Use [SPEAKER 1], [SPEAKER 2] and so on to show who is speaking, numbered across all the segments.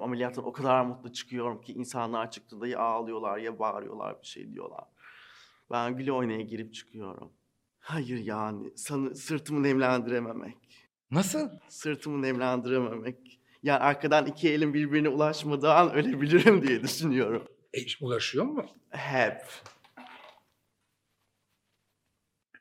[SPEAKER 1] Ameliyattan o kadar mutlu çıkıyorum ki insanlar çıktığında ya ağlıyorlar ya bağırıyorlar bir şey diyorlar. Ben güle oynaya girip çıkıyorum. Hayır yani sanı, sırtımı nemlendirememek.
[SPEAKER 2] Nasıl?
[SPEAKER 1] Sırtımı nemlendirememek. Yani arkadan iki elin birbirine ulaşmadığı an ölebilirim diye düşünüyorum.
[SPEAKER 2] E, ulaşıyor mu?
[SPEAKER 1] Hep.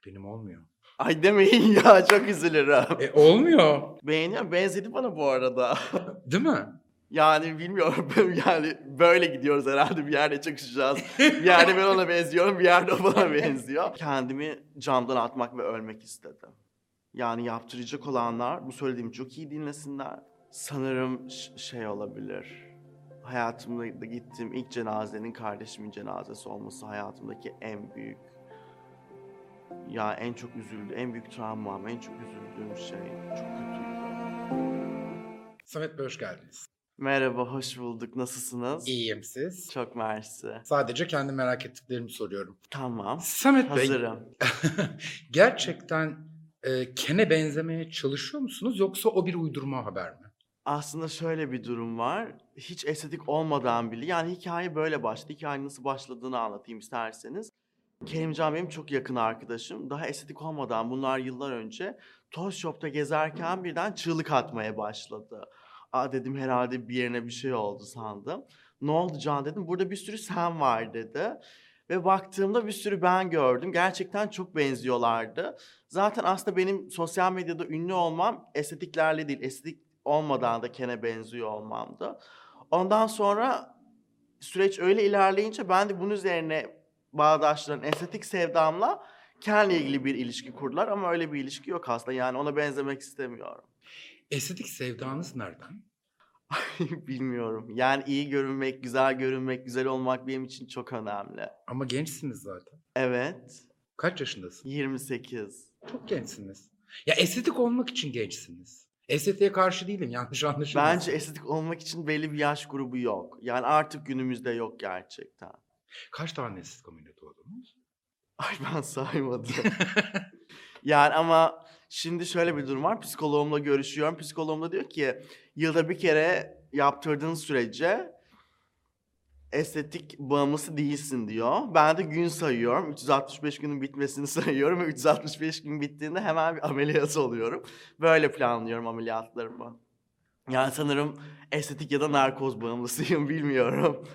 [SPEAKER 2] Benim olmuyor.
[SPEAKER 1] Ay demeyin ya çok üzülürüm.
[SPEAKER 2] E olmuyor.
[SPEAKER 1] Beğeniyorum benzedi bana bu arada.
[SPEAKER 2] Değil mi?
[SPEAKER 1] Yani bilmiyorum yani böyle gidiyoruz herhalde bir yerde çakışacağız. Bir yerde ben ona benziyorum bir yerde o bana benziyor. Kendimi camdan atmak ve ölmek istedim. Yani yaptıracak olanlar bu söylediğimi çok iyi dinlesinler. Sanırım ş- şey olabilir. Hayatımda gittiğim ilk cenazenin kardeşimin cenazesi olması hayatımdaki en büyük ya en çok üzüldüğüm, en büyük travmam, en çok üzüldüğüm şey. Çok kötüydü.
[SPEAKER 2] Samet Bey hoş geldiniz.
[SPEAKER 1] Merhaba, hoş bulduk. Nasılsınız?
[SPEAKER 2] İyiyim siz.
[SPEAKER 1] Çok mersi.
[SPEAKER 2] Sadece kendi merak ettiklerimi soruyorum.
[SPEAKER 1] Tamam.
[SPEAKER 2] Samet Bey
[SPEAKER 1] Hazırım.
[SPEAKER 2] gerçekten e, Ken'e benzemeye çalışıyor musunuz yoksa o bir uydurma haber mi?
[SPEAKER 1] Aslında şöyle bir durum var. Hiç estetik olmadan bile yani hikaye böyle başladı. Hikayenin nasıl başladığını anlatayım isterseniz. Kerimcan benim çok yakın arkadaşım. Daha estetik olmadan bunlar yıllar önce Toz Shop'ta gezerken birden çığlık atmaya başladı. Aa dedim herhalde bir yerine bir şey oldu sandım. Ne oldu Can dedim. Burada bir sürü sen var dedi. Ve baktığımda bir sürü ben gördüm. Gerçekten çok benziyorlardı. Zaten aslında benim sosyal medyada ünlü olmam estetiklerle değil, estetik olmadan da Ken'e benziyor olmamdı. Ondan sonra süreç öyle ilerleyince ben de bunun üzerine bağdaşların estetik sevdamla Ken'le ilgili bir ilişki kurdular ama öyle bir ilişki yok aslında. Yani ona benzemek istemiyorum.
[SPEAKER 2] Estetik sevdanız nereden?
[SPEAKER 1] Bilmiyorum. Yani iyi görünmek, güzel görünmek, güzel olmak benim için çok önemli.
[SPEAKER 2] Ama gençsiniz zaten.
[SPEAKER 1] Evet.
[SPEAKER 2] Kaç yaşındasınız?
[SPEAKER 1] 28.
[SPEAKER 2] Çok gençsiniz. Ya estetik olmak için gençsiniz. Estetiğe karşı değilim yanlış anlaşılmasın.
[SPEAKER 1] Bence estetik olmak için belli bir yaş grubu yok. Yani artık günümüzde yok gerçekten.
[SPEAKER 2] Kaç tane estetik ameliyatı oldunuz?
[SPEAKER 1] Ay ben saymadım. yani ama şimdi şöyle bir durum var. Psikoloğumla görüşüyorum. Psikoloğum da diyor ki yılda bir kere yaptırdığın sürece estetik bağımlısı değilsin diyor. Ben de gün sayıyorum. 365 günün bitmesini sayıyorum ve 365 gün bittiğinde hemen bir ameliyat oluyorum. Böyle planlıyorum ameliyatlarımı. Yani sanırım estetik ya da narkoz bağımlısıyım bilmiyorum.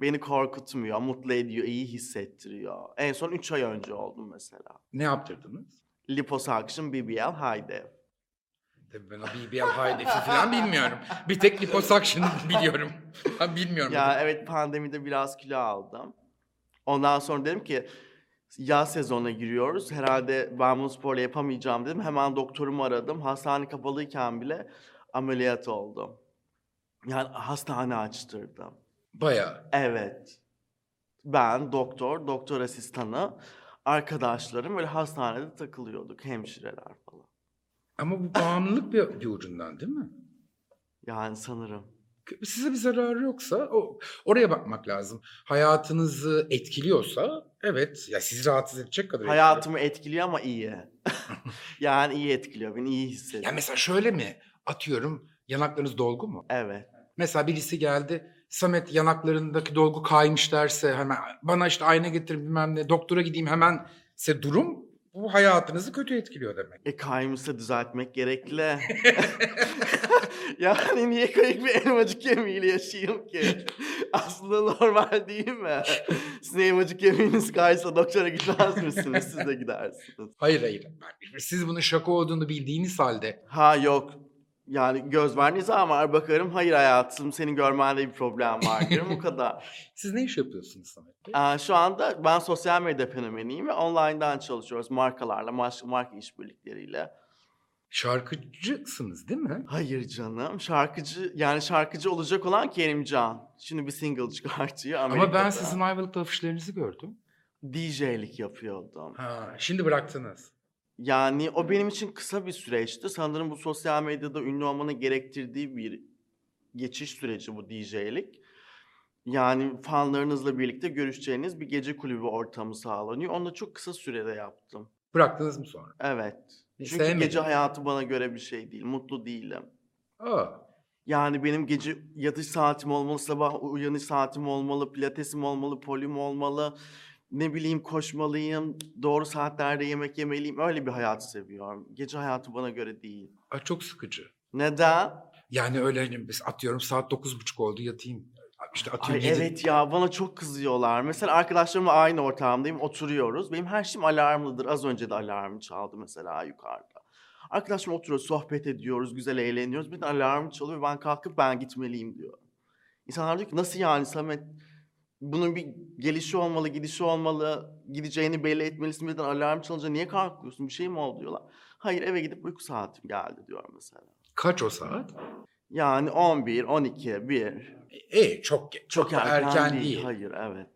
[SPEAKER 1] Beni korkutmuyor, mutlu ediyor, iyi hissettiriyor. En son 3 ay önce oldum mesela.
[SPEAKER 2] Ne yaptırdınız?
[SPEAKER 1] Liposuction, BBL, Haydev.
[SPEAKER 2] Tabii ben o BBL haydefi falan bilmiyorum. Bir tek liposuction biliyorum. Ha, bilmiyorum.
[SPEAKER 1] Ya evet pandemide biraz kilo aldım. Ondan sonra dedim ki yaz sezonuna giriyoruz. Herhalde ben bunu sporla yapamayacağım dedim. Hemen doktorumu aradım. Hastane kapalıyken bile ameliyat oldum. Yani hastane açtırdım.
[SPEAKER 2] Bayağı.
[SPEAKER 1] Evet. Ben doktor, doktor asistanı, arkadaşlarım böyle hastanede takılıyorduk hemşireler falan.
[SPEAKER 2] Ama bu bağımlılık bir, bir ucundan değil mi?
[SPEAKER 1] Yani sanırım.
[SPEAKER 2] Size bir zararı yoksa o, oraya bakmak lazım. Hayatınızı etkiliyorsa evet ya sizi rahatsız edecek kadar etkiliyor.
[SPEAKER 1] Hayatımı etkiliyor ama iyi. yani iyi etkiliyor, beni iyi
[SPEAKER 2] Ya
[SPEAKER 1] hissediyor.
[SPEAKER 2] mesela şöyle mi? Atıyorum yanaklarınız dolgu mu?
[SPEAKER 1] Evet.
[SPEAKER 2] Mesela birisi geldi. Samet yanaklarındaki dolgu kaymış derse hemen bana işte ayna getir bilmem ne doktora gideyim hemen se durum bu hayatınızı kötü etkiliyor demek.
[SPEAKER 1] E kaymışsa düzeltmek gerekli. yani niye kayık bir elmacık kemiğiyle yaşayayım ki? Aslında normal değil mi? Sizin elmacık kemiğiniz kaysa doktora gitmez misiniz? Siz de gidersiniz.
[SPEAKER 2] Hayır hayır. Siz bunun şaka olduğunu bildiğiniz halde
[SPEAKER 1] Ha yok. Yani göz var nizam var bakarım. Hayır hayatım senin görmende bir problem var diyorum o kadar.
[SPEAKER 2] siz ne iş yapıyorsunuz Samet Bey?
[SPEAKER 1] Ee, şu anda ben sosyal medya fenomeniyim ve online'dan çalışıyoruz markalarla, marş- marka işbirlikleriyle.
[SPEAKER 2] Şarkıcısınız değil mi?
[SPEAKER 1] Hayır canım şarkıcı yani şarkıcı olacak olan Kerimcan. Şimdi bir single çıkartıyor Amerika'da.
[SPEAKER 2] Ama ben sizin ayvalık afişlerinizi gördüm.
[SPEAKER 1] DJ'lik yapıyordum.
[SPEAKER 2] Ha, şimdi bıraktınız.
[SPEAKER 1] Yani o benim için kısa bir süreçti. Sanırım bu sosyal medyada ünlü olmanın gerektirdiği bir geçiş süreci bu DJ'lik. Yani fanlarınızla birlikte görüşeceğiniz bir gece kulübü ortamı sağlanıyor. Onu da çok kısa sürede yaptım.
[SPEAKER 2] Bıraktınız mı sonra?
[SPEAKER 1] Evet. Çünkü
[SPEAKER 2] Sevmedin
[SPEAKER 1] gece
[SPEAKER 2] mi?
[SPEAKER 1] hayatı bana göre bir şey değil. Mutlu değilim.
[SPEAKER 2] Aa,
[SPEAKER 1] Yani benim gece yatış saatim olmalı, sabah uyanış saatim olmalı, pilatesim olmalı, polim olmalı. Ne bileyim koşmalıyım, doğru saatlerde yemek yemeliyim. Öyle bir hayatı seviyorum. Gece hayatı bana göre değil.
[SPEAKER 2] Ay, çok sıkıcı.
[SPEAKER 1] Neden?
[SPEAKER 2] Yani öyle hani biz atıyorum saat dokuz buçuk oldu yatayım. İşte
[SPEAKER 1] Ay
[SPEAKER 2] atıyorum yedi-
[SPEAKER 1] evet ya bana çok kızıyorlar. Mesela arkadaşlarımla aynı ortamdayım, oturuyoruz. Benim her şeyim alarmlıdır. Az önce de alarmı çaldı mesela yukarıda. Arkadaşım oturuyor, sohbet ediyoruz, güzel eğleniyoruz. Bir de alarm çalıyor ve ben kalkıp ben gitmeliyim diyor. İnsanlar diyor ki nasıl yani Samet? Bunun bir gelişi olmalı, gidişi olmalı. Gideceğini belli etmelisin. Birden alarm çalınca niye kalkıyorsun? Bir şey mi oldu diyorlar. Hayır eve gidip uyku saatim geldi diyor mesela.
[SPEAKER 2] Kaç o saat?
[SPEAKER 1] Yani 11, 12, 1.
[SPEAKER 2] E çok ge-
[SPEAKER 1] Çok erken, değil. Hayır evet.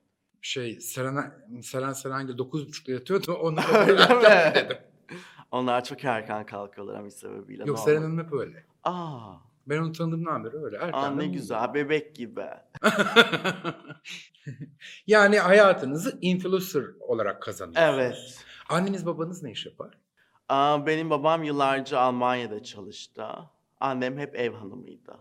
[SPEAKER 2] Şey Seren Seren Serengil dokuz buçukta yatıyordu. Onu
[SPEAKER 1] Öyle
[SPEAKER 2] erken
[SPEAKER 1] mi?
[SPEAKER 2] dedim.
[SPEAKER 1] Onlar çok erken kalkıyorlar ama hiç sebebiyle.
[SPEAKER 2] Yok
[SPEAKER 1] normal.
[SPEAKER 2] Seren Hanım hep öyle.
[SPEAKER 1] Aa,
[SPEAKER 2] Ben onu tanıdığımdan beri öyle.
[SPEAKER 1] aa
[SPEAKER 2] Erken
[SPEAKER 1] ne güzel bebek gibi.
[SPEAKER 2] yani hayatınızı influencer olarak kazanıyorsunuz.
[SPEAKER 1] Evet.
[SPEAKER 2] Anneniz babanız ne iş yapar?
[SPEAKER 1] Aa, benim babam yıllarca Almanya'da çalıştı. Annem hep ev hanımıydı.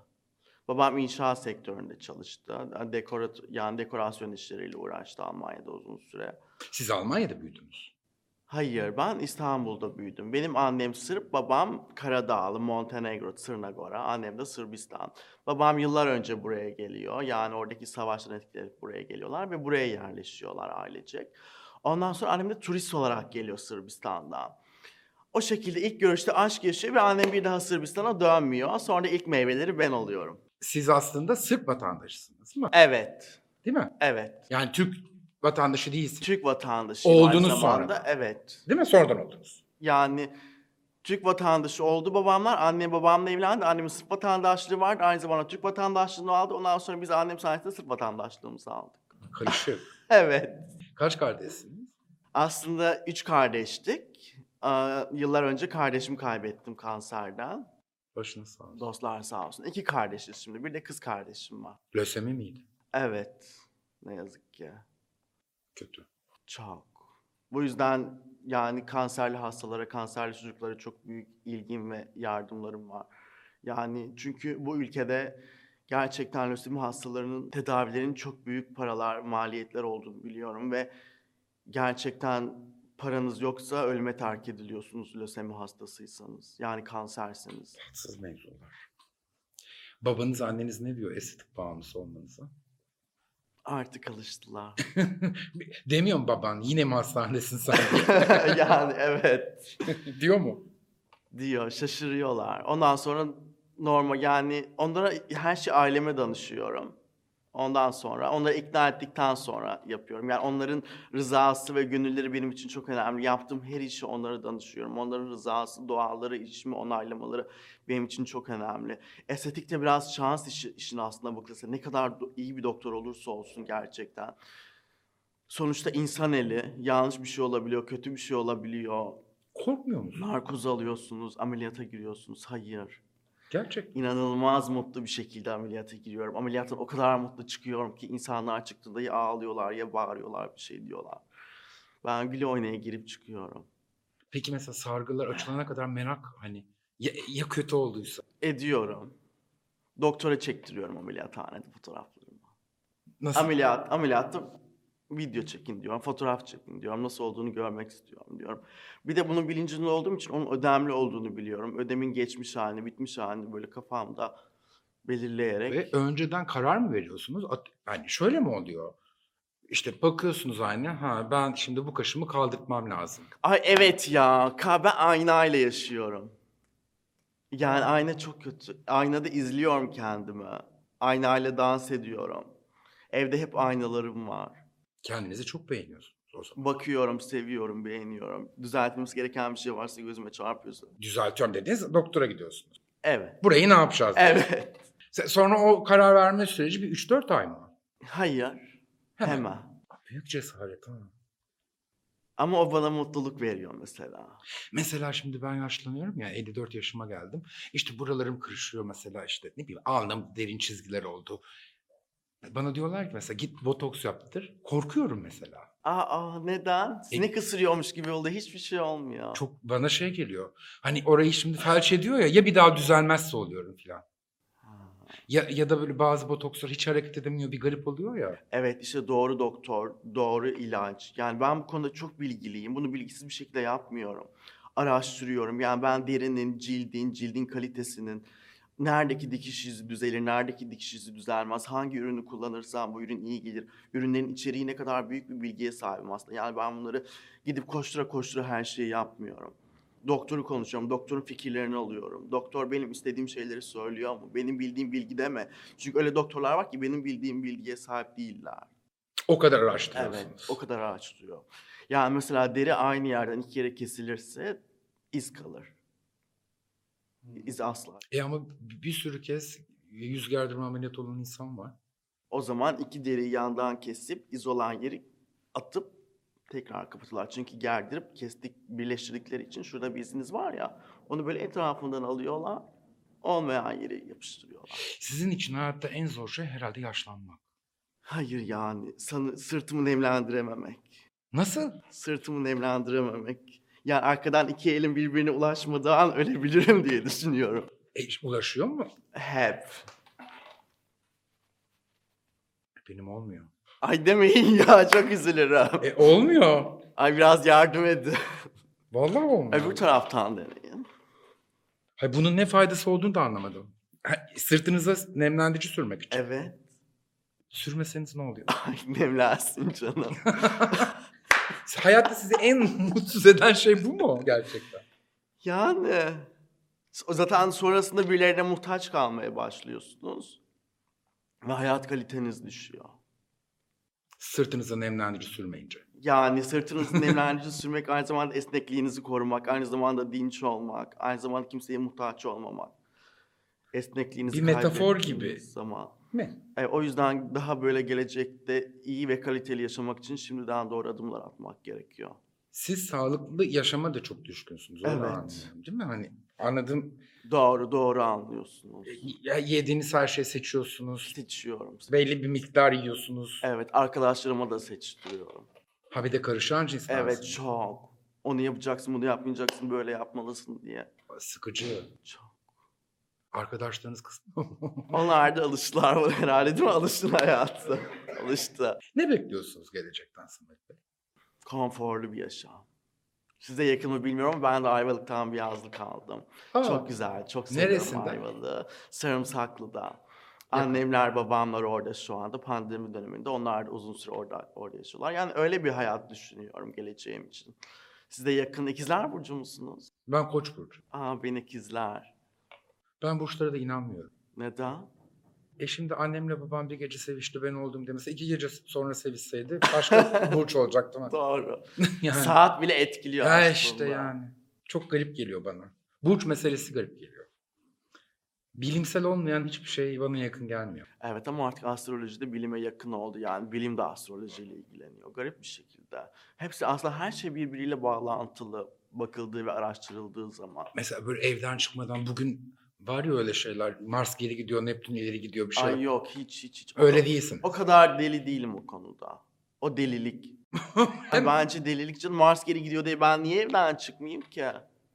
[SPEAKER 1] Babam inşaat sektöründe çalıştı. Dekorat yani dekorasyon işleriyle uğraştı Almanya'da uzun süre.
[SPEAKER 2] Siz Almanya'da büyüdünüz.
[SPEAKER 1] Hayır, ben İstanbul'da büyüdüm. Benim annem Sırp, babam Karadağlı, Montenegro, Tırnagora. Annem de Sırbistan. Babam yıllar önce buraya geliyor. Yani oradaki savaştan etkilenip buraya geliyorlar ve buraya yerleşiyorlar ailecek. Ondan sonra annem de turist olarak geliyor Sırbistan'dan. O şekilde ilk görüşte aşk yaşıyor ve annem bir daha Sırbistan'a dönmüyor. Sonra ilk meyveleri ben alıyorum.
[SPEAKER 2] Siz aslında Sırp vatandaşısınız değil mi?
[SPEAKER 1] Evet,
[SPEAKER 2] Değil mi?
[SPEAKER 1] evet.
[SPEAKER 2] Yani Türk vatandaşı değilsiniz.
[SPEAKER 1] Türk vatandaşıyım aynı
[SPEAKER 2] Oldunuz sonra.
[SPEAKER 1] zamanda. Evet.
[SPEAKER 2] Değil mi? Sonradan oldunuz.
[SPEAKER 1] Yani Türk vatandaşı oldu babamlar. Annem babamla evlendi. Annemin Sırp vatandaşlığı vardı. Aynı zamanda Türk vatandaşlığını aldı. Ondan sonra biz annem sayesinde Sırp vatandaşlığımızı aldık.
[SPEAKER 2] Karışık.
[SPEAKER 1] Evet.
[SPEAKER 2] Kaç kardeşsiniz?
[SPEAKER 1] Aslında üç kardeştik. Aa, yıllar önce kardeşimi kaybettim kanserden.
[SPEAKER 2] Başınız sağ olsun.
[SPEAKER 1] Dostlar sağ olsun. İki kardeşiz şimdi. Bir de kız kardeşim var.
[SPEAKER 2] Lösemi miydi?
[SPEAKER 1] Evet. Ne yazık ki.
[SPEAKER 2] Kötü.
[SPEAKER 1] Çok. Bu yüzden yani kanserli hastalara, kanserli çocuklara çok büyük ilgim ve yardımlarım var. Yani çünkü bu ülkede gerçekten lösemi hastalarının tedavilerinin çok büyük paralar, maliyetler olduğunu biliyorum ve gerçekten paranız yoksa ölüme terk ediliyorsunuz lösemi hastasıysanız. Yani kanserseniz.
[SPEAKER 2] Tatsız mevzular. Babanız anneniz ne diyor estetik bağımlısı olmanıza?
[SPEAKER 1] Artık alıştılar.
[SPEAKER 2] Demiyor mu baban yine mi hastanedesin sen? diye?
[SPEAKER 1] yani evet.
[SPEAKER 2] diyor mu?
[SPEAKER 1] diyor. Şaşırıyorlar. Ondan sonra normal yani onlara her şey aileme danışıyorum. Ondan sonra onları ikna ettikten sonra yapıyorum. Yani onların rızası ve gönülleri benim için çok önemli. Yaptığım her işi onlara danışıyorum. Onların rızası, duaları, işimi onaylamaları benim için çok önemli. Estetik de biraz şans işi, işin aslında bakılırsa. Ne kadar do- iyi bir doktor olursa olsun gerçekten. Sonuçta insan eli yanlış bir şey olabiliyor, kötü bir şey olabiliyor.
[SPEAKER 2] Korkmuyor musun?
[SPEAKER 1] Narkoz alıyorsunuz, ameliyata giriyorsunuz. Hayır.
[SPEAKER 2] Gerçekten.
[SPEAKER 1] İnanılmaz mutlu bir şekilde ameliyata giriyorum. Ameliyattan o kadar mutlu çıkıyorum ki insanlar çıktığında ya ağlıyorlar ya bağırıyorlar bir şey diyorlar. Ben güle oynaya girip çıkıyorum.
[SPEAKER 2] Peki mesela sargılar açılana kadar merak hani ya, ya kötü olduysa?
[SPEAKER 1] Ediyorum. Doktora çektiriyorum ameliyathanede fotoğraflarımı.
[SPEAKER 2] Nasıl?
[SPEAKER 1] Ameliyat, ameliyatta video çekin diyorum, fotoğraf çekin diyorum, nasıl olduğunu görmek istiyorum diyorum. Bir de bunun bilincinde olduğum için onun ödemli olduğunu biliyorum. Ödemin geçmiş halini, bitmiş halini böyle kafamda belirleyerek.
[SPEAKER 2] Ve önceden karar mı veriyorsunuz? At- Yani şöyle mi oluyor? İşte bakıyorsunuz aynı. Ha ben şimdi bu kaşımı kaldırtmam lazım.
[SPEAKER 1] Ay evet ya, ka- ben aynayla yaşıyorum. Yani
[SPEAKER 2] Hmm.
[SPEAKER 1] ayna çok kötü. Aynada izliyorum kendimi. Aynayla dans ediyorum. Evde hep aynalarım var.
[SPEAKER 2] Kendinizi çok beğeniyorsunuz o zaman.
[SPEAKER 1] Bakıyorum, seviyorum, beğeniyorum. Düzeltmemiz gereken bir şey varsa gözüme çarpıyorsa.
[SPEAKER 2] Düzeltiyorum dediniz doktora gidiyorsunuz.
[SPEAKER 1] Evet.
[SPEAKER 2] Burayı ne yapacağız? diyorsunuz.
[SPEAKER 1] Evet.
[SPEAKER 2] Se- Sonra o karar verme süreci bir 3-4 ay mı?
[SPEAKER 1] Hayır.
[SPEAKER 2] Hemen.
[SPEAKER 1] Hemen.
[SPEAKER 2] Büyük cesaret ha.
[SPEAKER 1] Ama o bana mutluluk veriyor mesela.
[SPEAKER 2] Mesela şimdi ben yaşlanıyorum ya 54 yaşıma geldim. İşte buralarım kırışıyor mesela işte ne bileyim alnım derin çizgiler oldu. Bana diyorlar ki mesela git botoks yaptır. Korkuyorum mesela.
[SPEAKER 1] Aa, aa, neden? Sinek ısırıyormuş gibi oldu. Hiçbir şey olmuyor.
[SPEAKER 2] Çok bana şey geliyor. Hani orayı şimdi felç ediyor ya ya bir daha düzelmezse oluyorum filan.
[SPEAKER 1] Ha.
[SPEAKER 2] Ya, ya da böyle bazı botokslar hiç hareket edemiyor bir garip oluyor ya.
[SPEAKER 1] Evet işte doğru doktor, doğru ilaç. Yani ben bu konuda çok bilgiliyim. Bunu bilgisiz bir şekilde yapmıyorum. Araştırıyorum. Yani ben derinin, cildin, cildin kalitesinin neredeki dikiş izi düzelir, neredeki dikiş izi düzelmez, hangi ürünü kullanırsam bu ürün iyi gelir, ürünlerin içeriği ne kadar büyük bir bilgiye sahibim aslında. Yani ben bunları gidip koştura koştura her şeyi yapmıyorum. Doktoru konuşuyorum, doktorun fikirlerini alıyorum. Doktor benim istediğim şeyleri söylüyor mu? Benim bildiğim bilgi deme. Çünkü öyle doktorlar var ki benim bildiğim bilgiye sahip değiller.
[SPEAKER 2] O kadar araştırıyorsunuz.
[SPEAKER 1] Evet, o kadar araştırıyor. Yani mesela deri aynı yerden iki yere kesilirse iz kalır. İz asla.
[SPEAKER 2] E ama bir sürü kez yüz gerdirme ameliyatı olan insan var.
[SPEAKER 1] O zaman iki deriyi yandan kesip iz olan yeri atıp tekrar kapatırlar. Çünkü gerdirip kestik birleştirdikleri için şurada bir iziniz var ya onu böyle etrafından alıyorlar. Olmayan yeri yapıştırıyorlar.
[SPEAKER 2] Sizin için hayatta en zor şey herhalde yaşlanmak.
[SPEAKER 1] Hayır yani sanı, sırtımı nemlendirememek.
[SPEAKER 2] Nasıl?
[SPEAKER 1] Sırtımı nemlendirememek. Yani arkadan iki elin birbirine ulaşmadığı an ölebilirim diye düşünüyorum.
[SPEAKER 2] E, ulaşıyor mu?
[SPEAKER 1] Hep.
[SPEAKER 2] Benim olmuyor.
[SPEAKER 1] Ay demeyin ya çok üzülürüm.
[SPEAKER 2] E olmuyor.
[SPEAKER 1] Ay biraz yardım edin.
[SPEAKER 2] Vallahi olmuyor.
[SPEAKER 1] Öbür taraftan deneyin.
[SPEAKER 2] Hayır, bunun ne faydası olduğunu da anlamadım. Ha, Sırtınıza nemlendirici sürmek için.
[SPEAKER 1] Evet.
[SPEAKER 2] Sürmeseniz ne oluyor?
[SPEAKER 1] Ay nemlensin canım.
[SPEAKER 2] Hayatta sizi en mutsuz eden şey bu mu gerçekten?
[SPEAKER 1] Yani s- zaten sonrasında birilerine muhtaç kalmaya başlıyorsunuz. Ve hayat kaliteniz düşüyor.
[SPEAKER 2] Sırtınıza nemlendirici sürmeyince.
[SPEAKER 1] Yani sırtınızı nemlendirici sürmek, aynı zamanda esnekliğinizi korumak, aynı zamanda dinç olmak, aynı zamanda kimseye muhtaç olmamak. Esnekliğinizi
[SPEAKER 2] Bir metafor
[SPEAKER 1] kaybettiğiniz
[SPEAKER 2] gibi.
[SPEAKER 1] Zaman.
[SPEAKER 2] Ne?
[SPEAKER 1] E, o yüzden daha böyle gelecekte iyi ve kaliteli yaşamak için şimdiden doğru adımlar atmak gerekiyor.
[SPEAKER 2] Siz sağlıklı yaşama da çok düşkünsünüz. Onu
[SPEAKER 1] Evet.
[SPEAKER 2] evet. anlıyorum. Değil mi? Hani anladım.
[SPEAKER 1] Doğru doğru anlıyorsunuz.
[SPEAKER 2] Ya yediğiniz her şeyi seçiyorsunuz.
[SPEAKER 1] Seçiyorum.
[SPEAKER 2] Belli bir miktar yiyorsunuz.
[SPEAKER 1] Evet arkadaşlarıma da seçtiriyorum.
[SPEAKER 2] Ha bir de karışan cinsten.
[SPEAKER 1] Evet çok. Onu yapacaksın bunu yapmayacaksın böyle yapmalısın diye.
[SPEAKER 2] Sıkıcı.
[SPEAKER 1] Çok.
[SPEAKER 2] Arkadaşlarınız kısmı.
[SPEAKER 1] Onlar da alıştılar bana herhalde değil mi? Alıştın hayatı. Alıştı.
[SPEAKER 2] ne bekliyorsunuz gelecekten Samet Bey?
[SPEAKER 1] Konforlu bir yaşam. Size yakın mı bilmiyorum ama ben de Ayvalık'tan bir yazlık aldım.
[SPEAKER 2] Aa,
[SPEAKER 1] Çok güzel, çok seviyorum
[SPEAKER 2] Neresinden?
[SPEAKER 1] Ayvalık'ı. Sarımsaklı'da. Annemler, babamlar orada şu anda pandemi döneminde. Onlar da uzun süre orada, orada yaşıyorlar. Yani öyle bir hayat düşünüyorum geleceğim için. Siz de yakın ikizler burcu musunuz?
[SPEAKER 2] Ben Koç burcu.
[SPEAKER 1] Aa ben ikizler.
[SPEAKER 2] Ben burçlara da inanmıyorum.
[SPEAKER 1] Neden?
[SPEAKER 2] E şimdi annemle babam bir gece sevişti ben oldum demese iki gece sonra sevişseydi başka burç olacaktı. ama.
[SPEAKER 1] Doğru.
[SPEAKER 2] yani.
[SPEAKER 1] Saat bile etkiliyor
[SPEAKER 2] Ya
[SPEAKER 1] aslında.
[SPEAKER 2] işte yani. Çok garip geliyor bana. Burç meselesi garip geliyor. Bilimsel olmayan hiçbir şey bana yakın gelmiyor.
[SPEAKER 1] Evet ama artık astroloji de bilime yakın oldu. Yani bilim de astrolojiyle ilgileniyor. Garip bir şekilde. Hepsi aslında her şey birbiriyle bağlantılı bakıldığı ve araştırıldığı zaman.
[SPEAKER 2] Mesela böyle evden çıkmadan bugün var ya öyle şeyler. Mars geri gidiyor, Neptün ileri gidiyor bir şey.
[SPEAKER 1] Ay yok hiç hiç hiç. O
[SPEAKER 2] öyle
[SPEAKER 1] ka-
[SPEAKER 2] değilsin.
[SPEAKER 1] O kadar deli değilim o konuda. O delilik. Ay bence delilik canım Mars geri gidiyor diye ben niye evden çıkmayayım ki?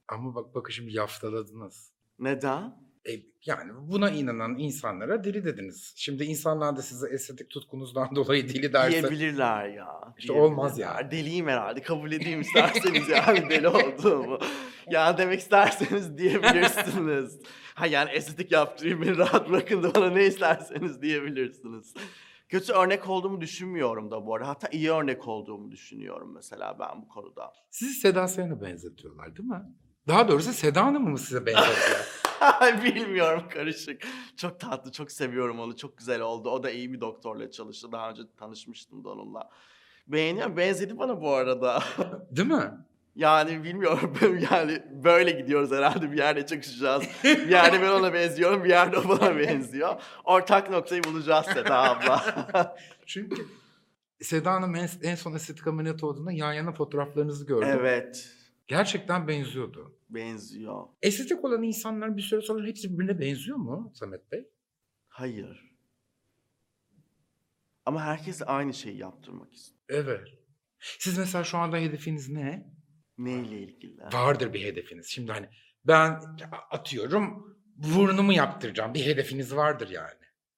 [SPEAKER 2] Ama bak bakın şimdi yaftaladınız.
[SPEAKER 1] Neden?
[SPEAKER 2] E, yani buna inanan insanlara deli dediniz. Şimdi insanlar da size estetik tutkunuzdan dolayı deli derse.
[SPEAKER 1] Diyebilirler ya.
[SPEAKER 2] İşte olmaz
[SPEAKER 1] diyebilirler.
[SPEAKER 2] ya.
[SPEAKER 1] Deliyim herhalde. Kabul edeyim isterseniz yani deli olduğumu. Yani demek isterseniz diyebilirsiniz. Ha yani estetik yaptırayım beni rahat bırakın da bana ne isterseniz diyebilirsiniz. Kötü örnek olduğumu düşünmüyorum da bu arada. Hatta iyi örnek olduğumu düşünüyorum mesela ben bu konuda.
[SPEAKER 2] Sizi Seda Sayan'a benzetiyorlar değil mi? Daha doğrusu Seda Hanım'ı mı size benzetiyor?
[SPEAKER 1] Bilmiyorum karışık. Çok tatlı, çok seviyorum onu. Çok güzel oldu. O da iyi bir doktorla çalıştı. Daha önce tanışmıştım da onunla. Beğeniyorum. Benzedi bana bu arada.
[SPEAKER 2] değil mi?
[SPEAKER 1] Yani bilmiyorum. yani böyle gidiyoruz herhalde. Bir yerde çıkışacağız. Bir yerde ben ona benziyorum. Bir yerde o bana benziyor. Ortak noktayı bulacağız Seda abla.
[SPEAKER 2] Çünkü Seda Hanım en, en son estetik ameliyat olduğunda yan yana fotoğraflarınızı gördüm.
[SPEAKER 1] evet.
[SPEAKER 2] Gerçekten benziyordu.
[SPEAKER 1] Benziyor.
[SPEAKER 2] Estetik olan insanlar bir süre sonra hepsi birbirine benziyor mu Samet Bey?
[SPEAKER 1] Hayır. Ama herkes aynı şeyi yaptırmak istiyor.
[SPEAKER 2] Evet. Siz mesela şu anda hedefiniz ne?
[SPEAKER 1] Neyle ilgili?
[SPEAKER 2] Vardır bir hedefiniz. Şimdi hani ben atıyorum burnumu yaptıracağım. Bir hedefiniz vardır yani.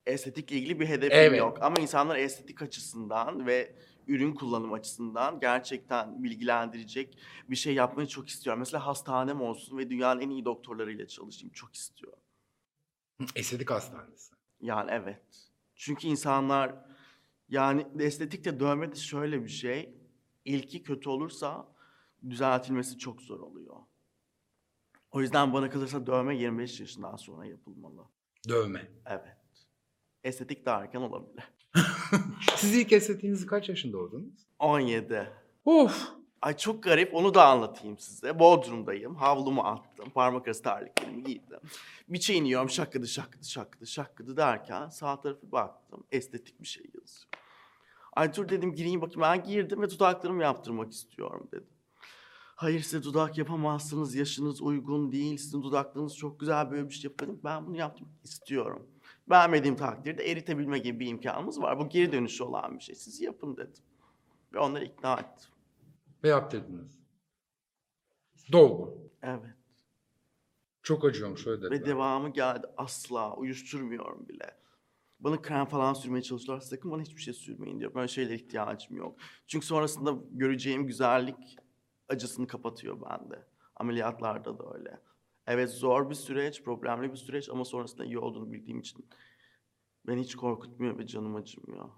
[SPEAKER 1] Estetikle ilgili bir hedefim
[SPEAKER 2] Evet.
[SPEAKER 1] yok. Ama insanlar estetik açısından ve ürün kullanım açısından gerçekten bilgilendirecek bir şey yapmayı çok istiyorum. Mesela hastanem olsun ve dünyanın en iyi doktorlarıyla çalışayım. Çok istiyorum.
[SPEAKER 2] Hı, Estetik hastanesi.
[SPEAKER 1] Yani evet. Çünkü insanlar yani estetikte dövme de şöyle bir şey. İlki kötü olursa düzeltilmesi çok zor oluyor. O yüzden bana kalırsa dövme 25 yaşından sonra yapılmalı.
[SPEAKER 2] Dövme.
[SPEAKER 1] Evet. Estetik daha erken olabilir.
[SPEAKER 2] Siz ilk estetiğinizi kaç yaşında oldunuz?
[SPEAKER 1] 17.
[SPEAKER 2] Of.
[SPEAKER 1] Ay çok garip onu da anlatayım size. Bodrum'dayım. Havlumu attım. Parmak arası terliklerimi giydim. Bir şey iniyorum şakkıdı şakkıdı şakkıdı şakkıdı derken sağ tarafı baktım. Estetik bir şey yazıyor. Ay dur dedim gireyim bakayım. Ben girdim ve dudaklarımı yaptırmak istiyorum dedim. Hayır size dudak yapamazsınız. Yaşınız uygun değil. Sizin dudaklarınız çok güzel böyle bir şey yapın. Ben bunu yaptım istiyorum. Vermediğim takdirde eritebilme gibi bir imkanımız var. Bu geri dönüşü olan bir şey. Siz yapın dedim. Ve onları ikna ettim.
[SPEAKER 2] Ve yaptırdınız. Dolgu.
[SPEAKER 1] Evet.
[SPEAKER 2] Çok acıyormuş öyle
[SPEAKER 1] Ve
[SPEAKER 2] dediler.
[SPEAKER 1] devamı geldi. Asla uyuşturmuyorum bile. Bana krem falan sürmeye çalışıyorlar. Sakın bana hiçbir şey sürmeyin diyor. Böyle şeylere ihtiyacım yok. Çünkü sonrasında göreceğim güzellik acısını kapatıyor bende. Ameliyatlarda da öyle. Evet zor bir süreç, problemli bir süreç ama sonrasında iyi olduğunu bildiğim için beni hiç korkutmuyor ve canım acımıyor.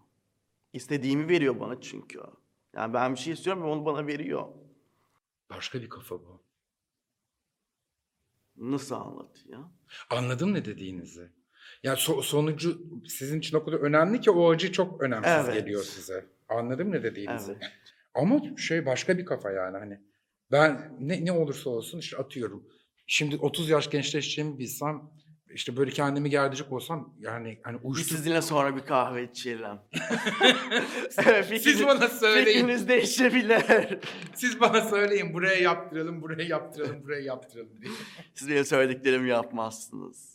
[SPEAKER 1] İstediğimi veriyor bana çünkü. Yani ben bir şey istiyorum ve onu bana veriyor.
[SPEAKER 2] Başka bir kafa bu.
[SPEAKER 1] Nasıl anlatayım?
[SPEAKER 2] Anladım ne dediğinizi. Ya so- sonucu sizin için o kadar önemli ki o acı çok önemsiz
[SPEAKER 1] Evet.
[SPEAKER 2] geliyor size. Anladım ne dediğinizi.
[SPEAKER 1] Evet.
[SPEAKER 2] Ama şey başka bir kafa yani hani. Ben ne, ne olursa olsun işte atıyorum. Şimdi 30 yaş gençleşeceğimi bilsem işte böyle kendimi gerdirecek olsam yani hani
[SPEAKER 1] Biz
[SPEAKER 2] uyuşturucu.
[SPEAKER 1] sizinle sonra bir kahve içelim. Evet, fikrini-
[SPEAKER 2] bana
[SPEAKER 1] Fikriniz değişebilir.
[SPEAKER 2] Siz bana söyleyin buraya yaptıralım, buraya yaptıralım, buraya yaptıralım diye.
[SPEAKER 1] Siz benim söylediklerimi yapmazsınız.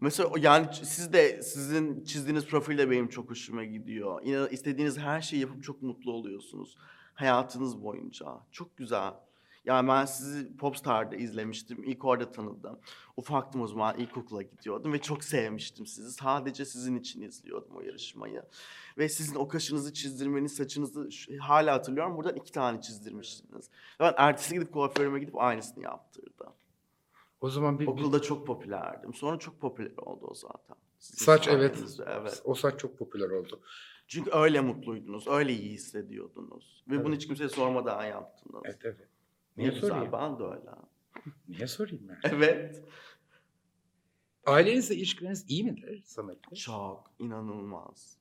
[SPEAKER 1] Mesela o- yani ç- siz de sizin çizdiğiniz profil de benim çok hoşuma gidiyor. İnan, istediğiniz her şeyi yapıp çok mutlu oluyorsunuz. Hayatınız boyunca. Çok güzel. Yani ben sizi Popstar'da izlemiştim. İlk orada tanıdım. Ufaktım o zaman ilkokula gidiyordum ve çok sevmiştim sizi. Sadece sizin için izliyordum o yarışmayı. Ve sizin o kaşınızı çizdirmeniz, saçınızı şu- hala hatırlıyorum. Buradan iki tane çizdirmiştiniz. Ve Ben ertesi gidip kuaförüme gidip aynısını yaptırdım.
[SPEAKER 2] O zaman bir, bir-
[SPEAKER 1] Okulda çok popülerdim. Sonra çok popüler oldu o zaten. Sizin
[SPEAKER 2] saç evet.
[SPEAKER 1] sayenizde, evet.
[SPEAKER 2] O saç çok popüler oldu.
[SPEAKER 1] Çünkü öyle mutluydunuz, öyle iyi hissediyordunuz. Ve bunu
[SPEAKER 2] Evet.
[SPEAKER 1] hiç kimseye sormadan yaptınız.
[SPEAKER 2] Evet evet.
[SPEAKER 1] Niye
[SPEAKER 2] Niye
[SPEAKER 1] güzel,
[SPEAKER 2] sorayım?
[SPEAKER 1] ben de öyle.
[SPEAKER 2] Niye sorayım yani?
[SPEAKER 1] Evet.
[SPEAKER 2] Ailenizle ilişkileriniz iyi midir Samet'le?
[SPEAKER 1] Çok, inanılmaz.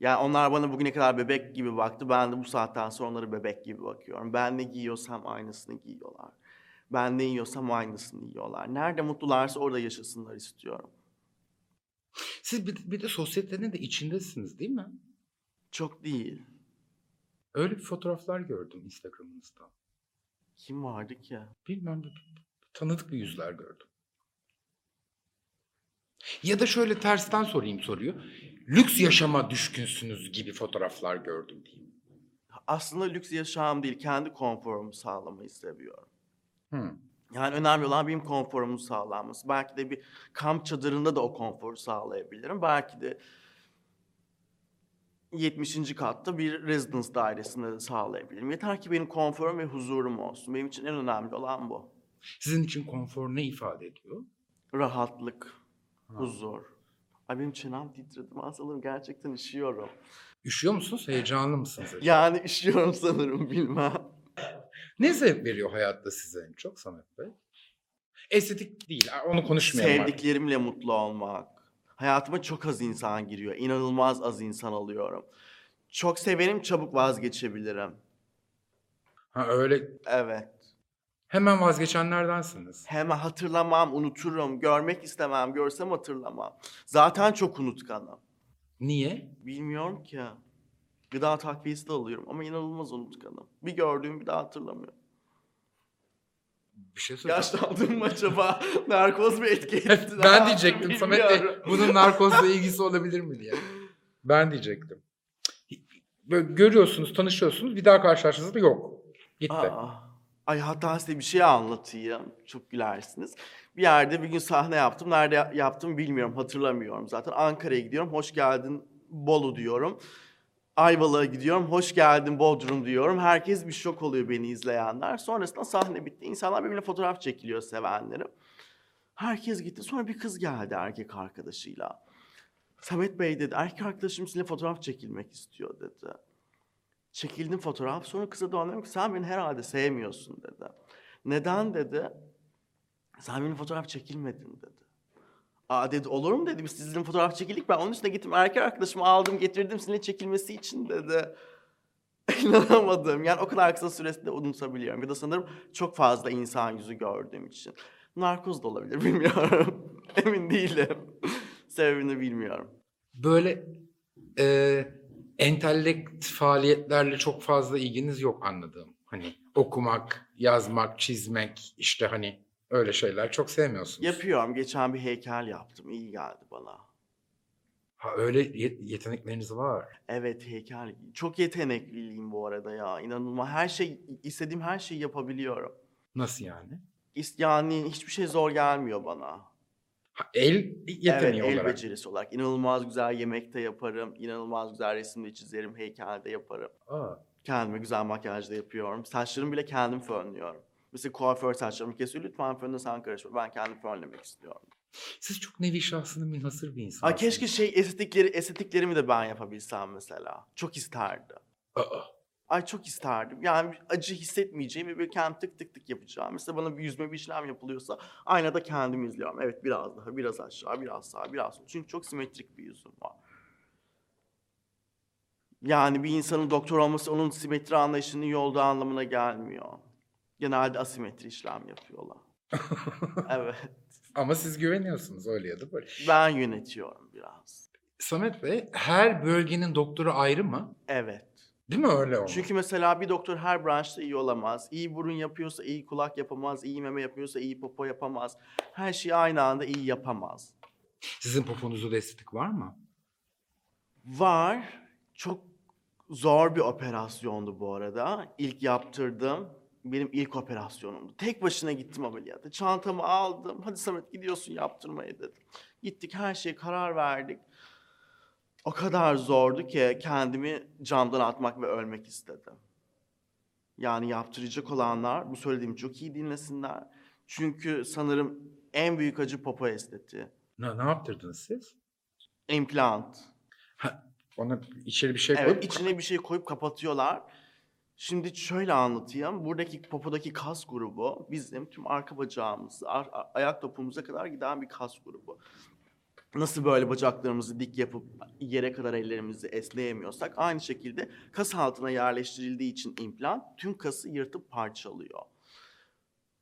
[SPEAKER 1] Yani onlar bana bugüne kadar bebek gibi baktı. Ben de bu saatten sonra onlara bebek gibi bakıyorum. Ben ne giyiyorsam aynısını giyiyorlar. Ben ne yiyorsam aynısını yiyorlar. Nerede mutlularsa orada yaşasınlar istiyorum.
[SPEAKER 2] Siz bir, bir de sosyetenin de içindesiniz değil mi?
[SPEAKER 1] Çok değil.
[SPEAKER 2] Öyle bir fotoğraflar gördüm Instagram'ınızda.
[SPEAKER 1] Kim vardı ki?
[SPEAKER 2] Bilmem bir- bir- tanıdık bir yüzler gördüm. Ya da şöyle tersten sorayım soruyu. Lüks yaşama düşkünsünüz gibi fotoğraflar gördüm diyeyim.
[SPEAKER 1] aslında lüks yaşam değil, kendi konforumu sağlamayı seviyorum.
[SPEAKER 2] Hmm.
[SPEAKER 1] Yani önemli olan benim konforumun sağlanması. Belki de bir kamp çadırında da o konforu sağlayabilirim. Belki de 70. katta bir residence dairesinde de sağlayabilirim. Yeter ki benim konforum ve huzurum olsun. Benim için en önemli olan bu.
[SPEAKER 2] Sizin için konfor ne ifade ediyor?
[SPEAKER 1] Rahatlık,
[SPEAKER 2] Ha.
[SPEAKER 1] huzur. Ay benim çenem titredi. Ben sanırım gerçekten üşüyorum.
[SPEAKER 2] Üşüyor musunuz? Heyecanlı mısınız? acaba?
[SPEAKER 1] Yani üşüyorum sanırım bilmem.
[SPEAKER 2] Ne zevk veriyor hayatta size en çok Samet Bey? Estetik değil. Onu konuşmayalım. artık.
[SPEAKER 1] Sevdiklerimle mutlu olmak. Hayatıma çok az insan giriyor. İnanılmaz az insan alıyorum. Çok severim, çabuk vazgeçebilirim.
[SPEAKER 2] Ha öyle
[SPEAKER 1] Evet.
[SPEAKER 2] hemen vazgeçenlerdensiniz.
[SPEAKER 1] Hemen hatırlamam, unuturum. Görmek istemem, görsem hatırlamam. Zaten çok unutkanım.
[SPEAKER 2] Niye?
[SPEAKER 1] Bilmiyorum ki. Gıda takviyesi de alıyorum ama inanılmaz unutkanım. Bir gördüğüm bir daha hatırlamıyorum.
[SPEAKER 2] Bir şey söyleyeceğim.
[SPEAKER 1] Yaşlandım mı acaba? Narkoz mu etki etti? Ne
[SPEAKER 2] ben
[SPEAKER 1] yaptım
[SPEAKER 2] diyecektim Samet Bey
[SPEAKER 1] bilmiyorum.
[SPEAKER 2] bunun narkozla ilgisi olabilir mi diye. Ben diyecektim. Böyle görüyorsunuz, tanışıyorsunuz. Bir daha karşılaştığınızda yok. Gitti.
[SPEAKER 1] Aa, Ay hatta size bir şey anlatayım. Çok gülersiniz. Bir yerde bir gün sahne yaptım. Nerede ya- yaptım bilmiyorum. Hatırlamıyorum zaten. Ankara'ya gidiyorum. Hoş geldin Bolu diyorum. Ayvalık'a gidiyorum. Hoş geldin Bodrum diyorum. Herkes bir şok oluyor beni izleyenler. Sonrasında sahne bitti. İnsanlar birbirine fotoğraf çekiliyor sevenlerim. Herkes gitti. Sonra bir kız geldi erkek arkadaşıyla. Samet Bey dedi erkek arkadaşım sizinle fotoğraf çekilmek istiyor dedi. Çekildim fotoğraf. Sonra kıza döndüm ki sen beni herhalde sevmiyorsun dedi. Neden dedi. Sen benim fotoğraf çekilmedin dedi. Aa dedi olur mu dedi biz sizinle fotoğraf çekildik. Ben onun üstüne gittim erkek arkadaşımı aldım getirdim sizinle çekilmesi için dedi. İnanamadım. Yani o kadar kısa süresinde unutabiliyorum. Bir de sanırım çok fazla insan yüzü gördüğüm için. Narkoz da olabilir bilmiyorum. Emin değilim. Sebebini bilmiyorum.
[SPEAKER 2] Böyle e, entelekt faaliyetlerle çok fazla ilginiz yok anladığım. Hani okumak, yazmak, çizmek işte hani öyle şeyler çok sevmiyorsunuz.
[SPEAKER 1] Yapıyorum. Geçen bir heykel yaptım. İyi geldi bana.
[SPEAKER 2] Ha, öyle ye- yetenekleriniz var.
[SPEAKER 1] Evet heykel. Çok yetenekliyim bu arada ya. İnanılmaz. Her şey, istediğim her şeyi yapabiliyorum.
[SPEAKER 2] Nasıl yani?
[SPEAKER 1] İs- Yani hiçbir şey zor gelmiyor bana.
[SPEAKER 2] Ha, el yeteneği
[SPEAKER 1] evet, el
[SPEAKER 2] olarak.
[SPEAKER 1] becerisi olarak. İnanılmaz güzel yemekte yaparım. inanılmaz güzel resimde çizerim. Heykelde yaparım.
[SPEAKER 2] Aa,
[SPEAKER 1] Kendime güzel makyaj da yapıyorum. Saçlarımı bile kendim fönlüyorum. Mesela kuaför saçlarımı kesiyor. Lütfen fönle sen karışma. Ben kendim fönlemek istiyorum.
[SPEAKER 2] siz çok nevi şahsının minhasır bir insansınız.
[SPEAKER 1] Ay keşke şey estetikleri, estetiklerimi de ben yapabilsem mesela. Çok isterdim.
[SPEAKER 2] Aa,
[SPEAKER 1] Ay çok isterdim. Yani bir acı hissetmeyeceğim ve böyle kendim tık tık tık yapacağım. Mesela bana bir yüzme bir işlem yapılıyorsa aynada kendimi izliyorum. Evet biraz daha, biraz aşağı, biraz sağa, biraz sol. Çünkü çok simetrik bir yüzüm var. Yani bir insanın doktor olması onun simetri anlayışının yolda anlamına gelmiyor. Genelde asimetri işlem yapıyorlar. evet.
[SPEAKER 2] ama siz güveniyorsunuz öyle ya da böyle.
[SPEAKER 1] Ben yönetiyorum biraz.
[SPEAKER 2] Samet Bey her bölgenin doktoru ayrı mı?
[SPEAKER 1] Evet.
[SPEAKER 2] Değil mi öyle olmalı?
[SPEAKER 1] Çünkü mesela bir doktor her branşta iyi olamaz. İyi burun yapıyorsa iyi kulak yapamaz, iyi meme yapıyorsa iyi popo yapamaz. Her şeyi aynı anda iyi yapamaz.
[SPEAKER 2] Sizin poponuzda da estetik var mı?
[SPEAKER 1] Var. Çok zor bir operasyondu bu arada. İlk yaptırdım. Benim ilk operasyonumdu. Tek başına gittim ameliyata. Çantamı aldım. Hadi Samet gidiyorsun yaptırmaya dedim. Gittik her şeye karar verdik. O kadar zordu ki kendimi camdan atmak ve ölmek istedim. Yani yaptıracak olanlar bu söylediğimi çok iyi dinlesinler. Çünkü sanırım en büyük acı popo estetiği.
[SPEAKER 2] Ne, ne yaptırdınız siz?
[SPEAKER 1] Implant.
[SPEAKER 2] Ona içeri bir şey
[SPEAKER 1] Evet
[SPEAKER 2] koyup
[SPEAKER 1] içine bir şey koyup kapatıyorlar. Şimdi şöyle anlatayım. Buradaki popodaki kas grubu bizim tüm arka bacağımız, ar- a- ayak topumuza kadar giden bir kas grubu. Nasıl böyle bacaklarımızı dik yapıp yere kadar ellerimizi esneyemiyorsak aynı şekilde kas altına yerleştirildiği için implant tüm kası yırtıp parçalıyor.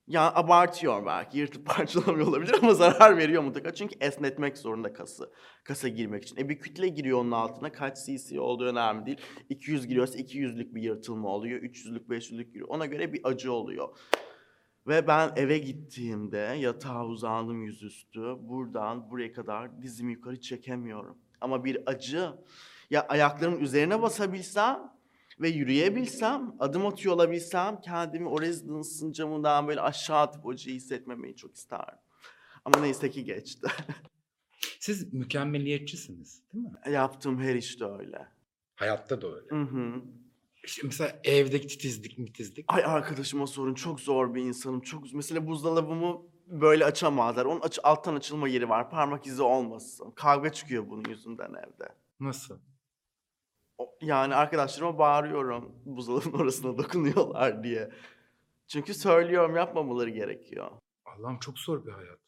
[SPEAKER 1] Yani abartıyor belki yırtıp parçalamıyor olabilir ama zarar veriyor mutlaka. Çünkü esnetmek zorunda kası kasa girmek için. E bir kütle giriyor onun altına. Kaç cc olduğu önemli değil. 200 giriyorsa 200'lük bir yırtılma oluyor. 300'lük 500'lük giriyor. Ona göre bir acı oluyor. Ve ben eve gittiğimde yatağa uzandım yüzüstü. Buradan buraya kadar dizimi yukarı çekemiyorum. Ama bir acı. Ya ayaklarımın üzerine basabilsem ve yürüyebilsem, adım atıyor olabilsem kendimi o residence'ın camından böyle aşağı atıp o acıyı hissetmemeyi çok isterdim. Ama neyse ki geçti.
[SPEAKER 2] siz mükemmeliyetçisiniz değil mi?
[SPEAKER 1] Yaptığım her işte öyle.
[SPEAKER 2] Hayatta da öyle.
[SPEAKER 1] Hı hı.
[SPEAKER 2] İşte mesela evdeki titizlik mitizlik.
[SPEAKER 1] Ay arkadaşıma sorun çok zor bir insanım. Çok mesela buzdolabımı böyle açamazlar. Onun aç- alttan açılma yeri var. Parmak izi olmasın. Kavga çıkıyor bunun yüzünden evde.
[SPEAKER 2] Nasıl?
[SPEAKER 1] O- yani arkadaşlarıma bağırıyorum buzdolabının orasına dokunuyorlar diye. Çünkü söylüyorum yapmamaları gerekiyor.
[SPEAKER 2] Allah'ım çok zor bir hayat.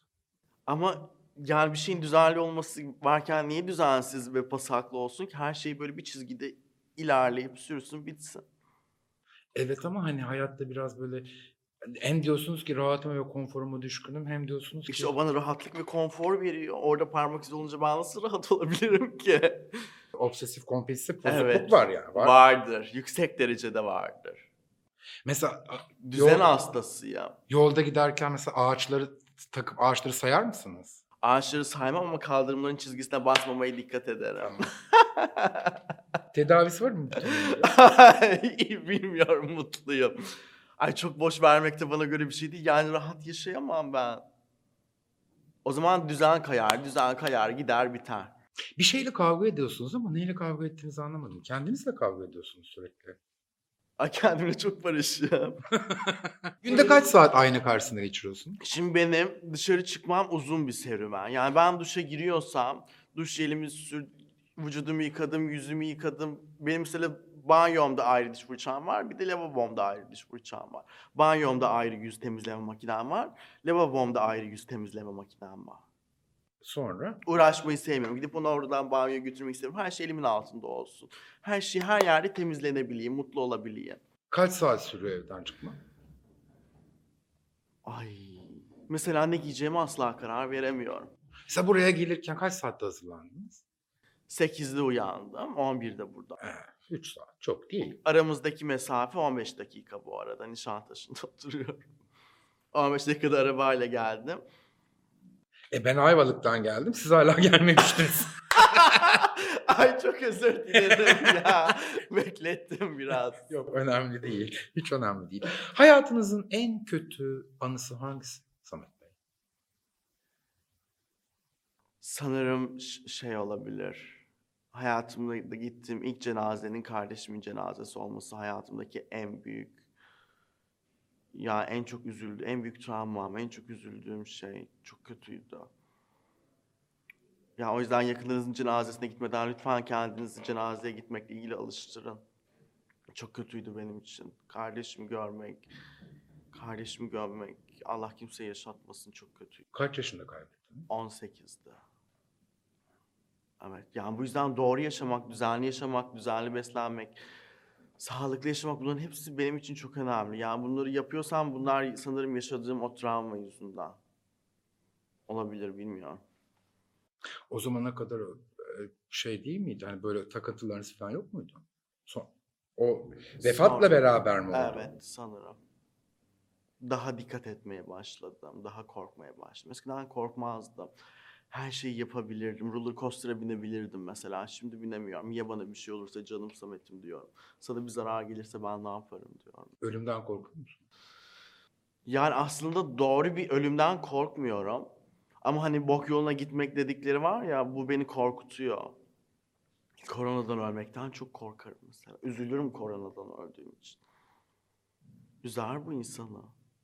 [SPEAKER 1] Ama yani bir şeyin düzenli olması varken niye düzensiz ve pasaklı olsun ki her şey böyle bir çizgide ilerleyip sürsün bitsin.
[SPEAKER 2] Evet ama hani hayatta biraz böyle hem diyorsunuz ki rahatıma ve konforuma düşkünüm hem diyorsunuz ki
[SPEAKER 1] İşte o bana rahatlık ve konfor veriyor. Orada parmak izi olunca ben nasıl rahat olabilirim ki?
[SPEAKER 2] obsesif kompulsif bozukluk
[SPEAKER 1] Evet.
[SPEAKER 2] var yani. Var.
[SPEAKER 1] Vardır. Yüksek derecede vardır.
[SPEAKER 2] Mesela
[SPEAKER 1] Düzen
[SPEAKER 2] Yok.
[SPEAKER 1] hastasıyım.
[SPEAKER 2] yolda giderken mesela ağaçları takıp ağaçları sayar mısınız?
[SPEAKER 1] Ağaçları saymam ama kaldırımların çizgisine basmamaya dikkat ederim.
[SPEAKER 2] Tamam. Tedavisi var mı?
[SPEAKER 1] İyi, Bilmiyorum mutluyum. Ay çok boş vermek de bana göre bir şey değil. Yani rahat yaşayamam ben. O zaman düzen kayar, düzen kayar, gider biter.
[SPEAKER 2] Bir şeyle kavga ediyorsunuz ama neyle kavga ettiğinizi anlamadım. Kendinizle kavga ediyorsunuz sürekli.
[SPEAKER 1] Ay kendimle çok barışım.
[SPEAKER 2] Günde kaç saat ayna karşısında geçiriyorsun?
[SPEAKER 1] Şimdi benim dışarı çıkmam uzun bir serüven. Yani ben duşa giriyorsam, duş jelimi sür, vücudumu yıkadım, yüzümü yıkadım. Benim mesela banyomda ayrı diş fırçam var, bir de lavabomda ayrı diş fırçam var. Banyomda ayrı yüz temizleme makinem var, lavabomda ayrı yüz temizleme makinem var.
[SPEAKER 2] Sonra
[SPEAKER 1] uğraşmayı sevmiyorum. Gidip onu oradan banyoya götürmek istemiyorum. Her şey elimin altında olsun. Her şey her yerde temizlenebileyim, mutlu olabileyim.
[SPEAKER 2] kaç saat sürüyor evden çıkma?
[SPEAKER 1] Ay. Mesela ne giyeceğimi asla karar veremiyorum.
[SPEAKER 2] Mesela buraya gelirken kaç saatte hazırlandınız?
[SPEAKER 1] 8'de uyandım, 11'de burada.
[SPEAKER 2] 3 saat. Çok değil.
[SPEAKER 1] Aramızdaki mesafe 15 dakika bu arada. Nişantaşı'nda oturuyorum. 15 dakikada arabayla geldim.
[SPEAKER 2] E ben Ayvalık'tan geldim. Siz hala gelmemiştiniz.
[SPEAKER 1] Ay çok özür dilerim ya. Beklettim biraz.
[SPEAKER 2] Yok önemli değil. Hiç önemli değil. Hayatınızın en kötü anısı hangisi Samet Bey?
[SPEAKER 1] Sanırım ş- şey olabilir. Hayatımda gittiğim ilk cenazenin kardeşimin cenazesi olması hayatımdaki en büyük ya en çok üzüldü, en büyük travmam, en çok üzüldüğüm şey çok kötüydü. Ya o yüzden yakınlarınızın cenazesine gitmeden lütfen kendinizi cenazeye gitmekle ilgili alıştırın. Çok kötüydü benim için. Kardeşimi görmek, kardeşimi görmek, Allah kimseyi yaşatmasın çok kötü.
[SPEAKER 2] Kaç yaşında kaybettiniz?
[SPEAKER 1] 18'de. Evet. Yani bu yüzden doğru yaşamak, düzenli yaşamak, düzenli beslenmek, sağlıklı yaşamak bunların hepsi benim için çok önemli. Yani bunları yapıyorsam bunlar sanırım yaşadığım o travma yüzünden. Olabilir bilmiyorum.
[SPEAKER 2] O zamana kadar e, şey değil miydi? Hani böyle takıntılarınız falan yok muydu? Son, o vefatla
[SPEAKER 1] Sonra-
[SPEAKER 2] beraber mi oldu?
[SPEAKER 1] Evet sanırım. Daha dikkat etmeye başladım. Daha korkmaya başladım. Eskiden korkmazdım. Her şeyi yapabilirdim. Roller coaster'a binebilirdim mesela. Şimdi binemiyorum. Ya bana bir şey olursa canım Samet'im diyorum. Sana bir zarar gelirse ben ne yaparım diyorum.
[SPEAKER 2] Ölümden korkuyor musun?
[SPEAKER 1] Yani aslında doğru bir ölümden korkmuyorum. Ama hani bok yoluna gitmek dedikleri var ya bu beni korkutuyor. Koronadan ölmekten çok korkarım mesela. Üzülürüm koronadan öldüğüm için. Üzer bu insanı.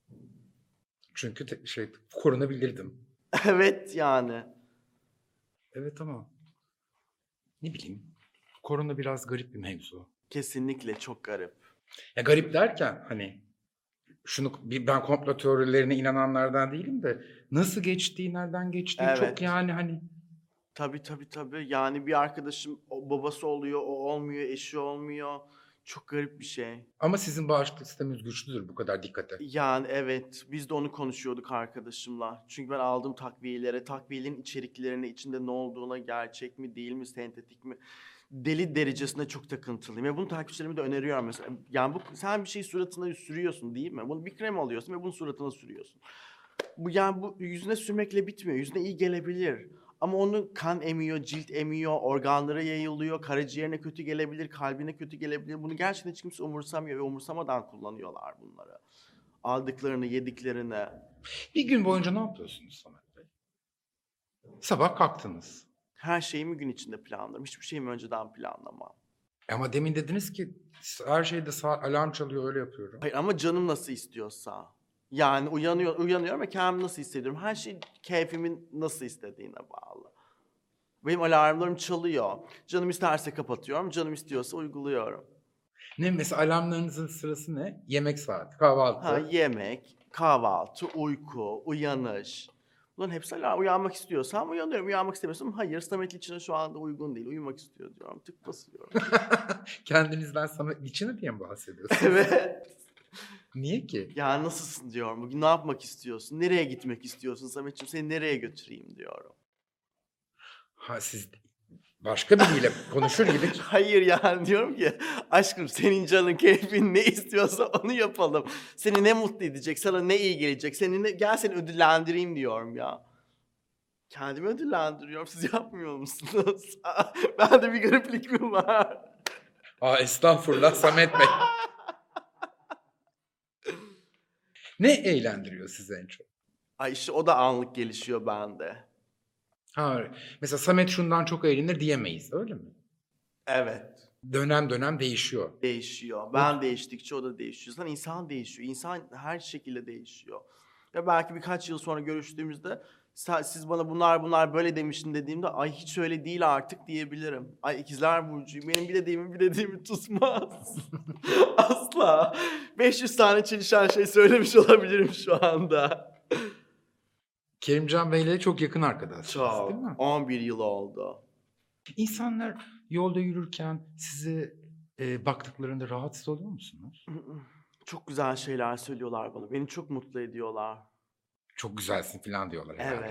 [SPEAKER 2] Çünkü te- şey korunabilirdim.
[SPEAKER 1] evet yani.
[SPEAKER 2] Evet ama ne bileyim. Korona biraz garip bir mevzu.
[SPEAKER 1] Kesinlikle çok garip.
[SPEAKER 2] Ya garip derken hani şunu bir ben komplo teorilerine inananlardan değilim de nasıl geçtiği, nereden geçtiği
[SPEAKER 1] Evet.
[SPEAKER 2] çok yani hani
[SPEAKER 1] Tabii tabii tabii. Yani bir arkadaşım o babası oluyor, o olmuyor, eşi olmuyor. Çok garip bir şey.
[SPEAKER 2] ama sizin bağışıklık sisteminiz güçlüdür bu kadar dikkate.
[SPEAKER 1] Yani evet biz de onu konuşuyorduk arkadaşımla. Çünkü ben aldığım takviyelere, takviyelerin içeriklerine, içinde ne olduğuna, gerçek mi, değil mi, sentetik mi deli derecesinde çok takıntılıyım. Ve bunu takipçilerime de öneriyorum mesela. Yani bu sen bir şey suratına sürüyorsun değil mi? Bunu bir krem alıyorsun ve bunu suratına sürüyorsun. Bu yani bu yüzüne sürmekle bitmiyor. Yüzüne iyi gelebilir. Ama onun kan emiyor, cilt emiyor, organlara yayılıyor, karaciğerine kötü gelebilir, kalbine kötü gelebilir. Bunu gerçekten hiç kimse umursamıyor ve umursamadan kullanıyorlar bunları aldıklarını, yediklerini.
[SPEAKER 2] Bir gün boyunca ne yapıyorsunuz Samet Bey? Sabah kalktınız.
[SPEAKER 1] Her şeyimi gün içinde planlarım. Hiçbir şeyimi önceden planlamam.
[SPEAKER 2] E Ama demin dediniz ki her şeyde saat alarm çalıyor öyle yapıyorum.
[SPEAKER 1] Hayır ama canım nasıl istiyorsa. Yani uyanıyor, uyanıyorum ve kendimi nasıl hissediyorum. Her şey keyfimin nasıl istediğine bağlı. Benim alarmlarım çalıyor. Canım isterse kapatıyorum, canım istiyorsa uyguluyorum.
[SPEAKER 2] Ne mesela alarmlarınızın sırası ne? Yemek saati, kahvaltı.
[SPEAKER 1] Ha, yemek, kahvaltı, uyku, uyanış. Bunların hepsi alarm. Uyanmak istiyorsam uyanıyorum. Uyanmak istemiyorsam hayır Samet için şu anda uygun değil. Uyumak istiyor diyorum. Tık basıyorum.
[SPEAKER 2] Kendinizden sana içini diye mi bahsediyorsunuz?
[SPEAKER 1] evet.
[SPEAKER 2] Niye ki?
[SPEAKER 1] Ya nasılsın diyorum. Bugün ne yapmak istiyorsun? Nereye gitmek istiyorsun Sametciğim? Seni nereye götüreyim diyorum.
[SPEAKER 2] Ha siz başka biriyle konuşur gibi
[SPEAKER 1] Hayır yani diyorum ki aşkım senin canın keyfin ne istiyorsa onu yapalım. Seni ne mutlu edecek, sana ne iyi gelecek. Seni ne, gel seni ödüllendireyim diyorum ya. Kendimi ödüllendiriyorum. Siz yapmıyor musunuz? ben de bir gariplik mi var?
[SPEAKER 2] Aa estağfurullah Samet Bey. Ne eğlendiriyor sizi en çok?
[SPEAKER 1] Ay işte o da anlık gelişiyor bende.
[SPEAKER 2] Ha, mesela Samet şundan çok eğlenir diyemeyiz öyle mi?
[SPEAKER 1] Evet.
[SPEAKER 2] Dönem dönem değişiyor.
[SPEAKER 1] Değişiyor. Ben değiştikçe o da değişiyor. Zaten insan değişiyor. İnsan her şekilde değişiyor. Ve belki birkaç yıl sonra görüştüğümüzde "Sen- siz bana bunlar bunlar böyle demiştin dediğimde ay hiç öyle değil artık diyebilirim. Ay ikizler burcuyum. Benim bir dediğimi bir dediğimi tutmaz. Asla. 500 tane çelişen şey söylemiş olabilirim şu anda.
[SPEAKER 2] Kerimcan Bey'le çok yakın arkadaşsınız
[SPEAKER 1] Çok.
[SPEAKER 2] değil mi?
[SPEAKER 1] 11 yıl oldu.
[SPEAKER 2] İnsanlar yolda yürürken sizi e, baktıklarında rahatsız oluyor musunuz?
[SPEAKER 1] Çok güzel şeyler söylüyorlar bana. Beni çok mutlu ediyorlar.
[SPEAKER 2] Çok güzelsin falan diyorlar herhalde.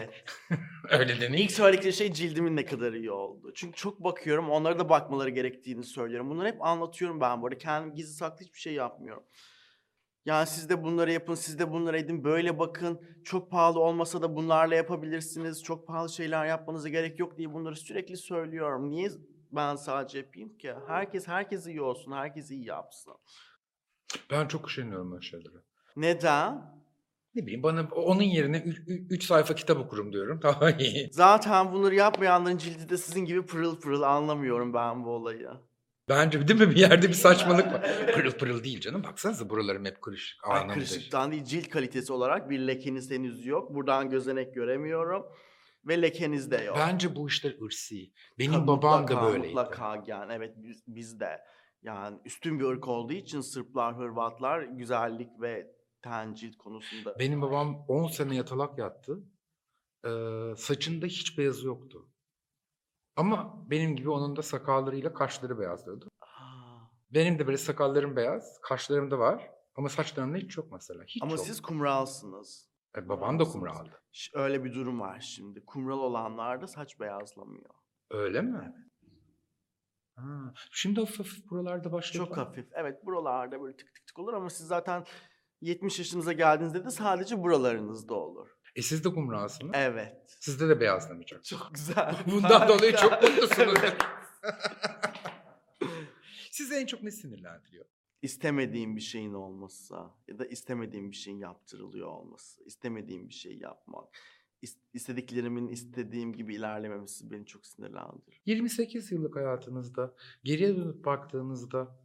[SPEAKER 1] Evet.
[SPEAKER 2] Öyle de
[SPEAKER 1] İlk söyledikleri şey cildimin ne kadar iyi oldu. Çünkü çok bakıyorum onlara da bakmaları gerektiğini söylüyorum. Bunları hep anlatıyorum ben bu arada. Kendim gizli saklı hiçbir şey yapmıyorum. Yani siz de bunları yapın, siz de bunları edin, böyle bakın. Çok pahalı olmasa da bunlarla yapabilirsiniz. Çok pahalı şeyler yapmanıza gerek yok diye bunları sürekli söylüyorum. Niye ben sadece yapayım ki? Herkes herkes iyi olsun, herkes iyi yapsın.
[SPEAKER 2] Ben çok üşeniyorum öyle şeylere.
[SPEAKER 1] Neden?
[SPEAKER 2] Ne bileyim bana onun yerine 3 sayfa kitap okurum diyorum. Daha iyi.
[SPEAKER 1] Zaten bunları yapmayanların cildi de sizin gibi pırıl pırıl anlamıyorum ben bu olayı.
[SPEAKER 2] Bence değil mi bir yerde bir saçmalık var. Pırıl pırıl değil canım. Baksanıza buralarım hep kırışık.
[SPEAKER 1] Ay,
[SPEAKER 2] anlamda.
[SPEAKER 1] kırışıktan değil cilt kalitesi olarak bir lekeniz henüz yok. Buradan gözenek göremiyorum. Ve lekeniz de yok.
[SPEAKER 2] Bence bu işler ırsi. Benim
[SPEAKER 1] Tabii
[SPEAKER 2] babam
[SPEAKER 1] mutlaka,
[SPEAKER 2] da böyleydi.
[SPEAKER 1] Mutlaka yani evet biz, biz de. Yani üstün bir ırk olduğu için Sırplar, Hırvatlar güzellik ve ten cilt konusunda.
[SPEAKER 2] Benim babam 10 sene yatalak yattı. Ee, saçında hiç beyazı yoktu. Ama benim gibi onun da sakallarıyla kaşları beyazlıyordu.
[SPEAKER 1] Aa,
[SPEAKER 2] Benim de böyle sakallarım beyaz, kaşlarım da var. Ama saçlarımda hiç yok mesela. Hiç
[SPEAKER 1] Ama
[SPEAKER 2] yok.
[SPEAKER 1] siz kumralsınız.
[SPEAKER 2] E, babam da kumraldı.
[SPEAKER 1] Ş- Öyle bir durum var şimdi. Kumral olanlarda saç beyazlamıyor.
[SPEAKER 2] Öyle mi? Ha, şimdi hafif hafif buralarda başladı.
[SPEAKER 1] Çok hafif. Evet buralarda böyle tık tık tık olur ama siz zaten 70 yaşınıza geldiğinizde de sadece buralarınızda olur.
[SPEAKER 2] E siz de kumralsınız.
[SPEAKER 1] Evet.
[SPEAKER 2] Sizde de beyazlamayacak.
[SPEAKER 1] Çok güzel.
[SPEAKER 2] Bundan dolayı çok
[SPEAKER 1] harika.
[SPEAKER 2] mutlusunuz.
[SPEAKER 1] Evet.
[SPEAKER 2] Sizi en çok ne sinirlendiriyor?
[SPEAKER 1] İstemediğim bir şeyin olması ya da istemediğim bir şeyin yaptırılıyor olması, istemediğim bir şey yapmak, is- istediklerimin istediğim gibi ilerlememesi beni çok sinirlendirir.
[SPEAKER 2] 28 yıllık hayatınızda geriye dönüp baktığınızda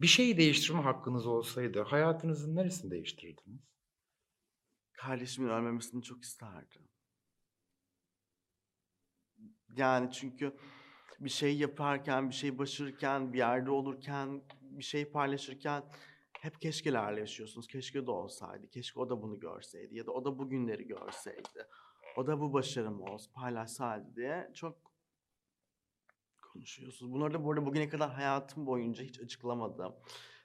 [SPEAKER 2] bir şeyi değiştirme hakkınız olsaydı hayatınızın neresini değiştirirdiniz?
[SPEAKER 1] Kardeşimin ölmemesini çok isterdim. Yani çünkü bir şey yaparken, bir şey başarırken, bir yerde olurken, bir şey paylaşırken hep keşkelerle yaşıyorsunuz. Keşke de olsaydı, keşke o da bunu görseydi ya da o da bugünleri görseydi. O da bu başarım olsun, paylaşsaydı diye çok konuşuyorsunuz. Bunları da bu arada bugüne kadar hayatım boyunca hiç açıklamadım.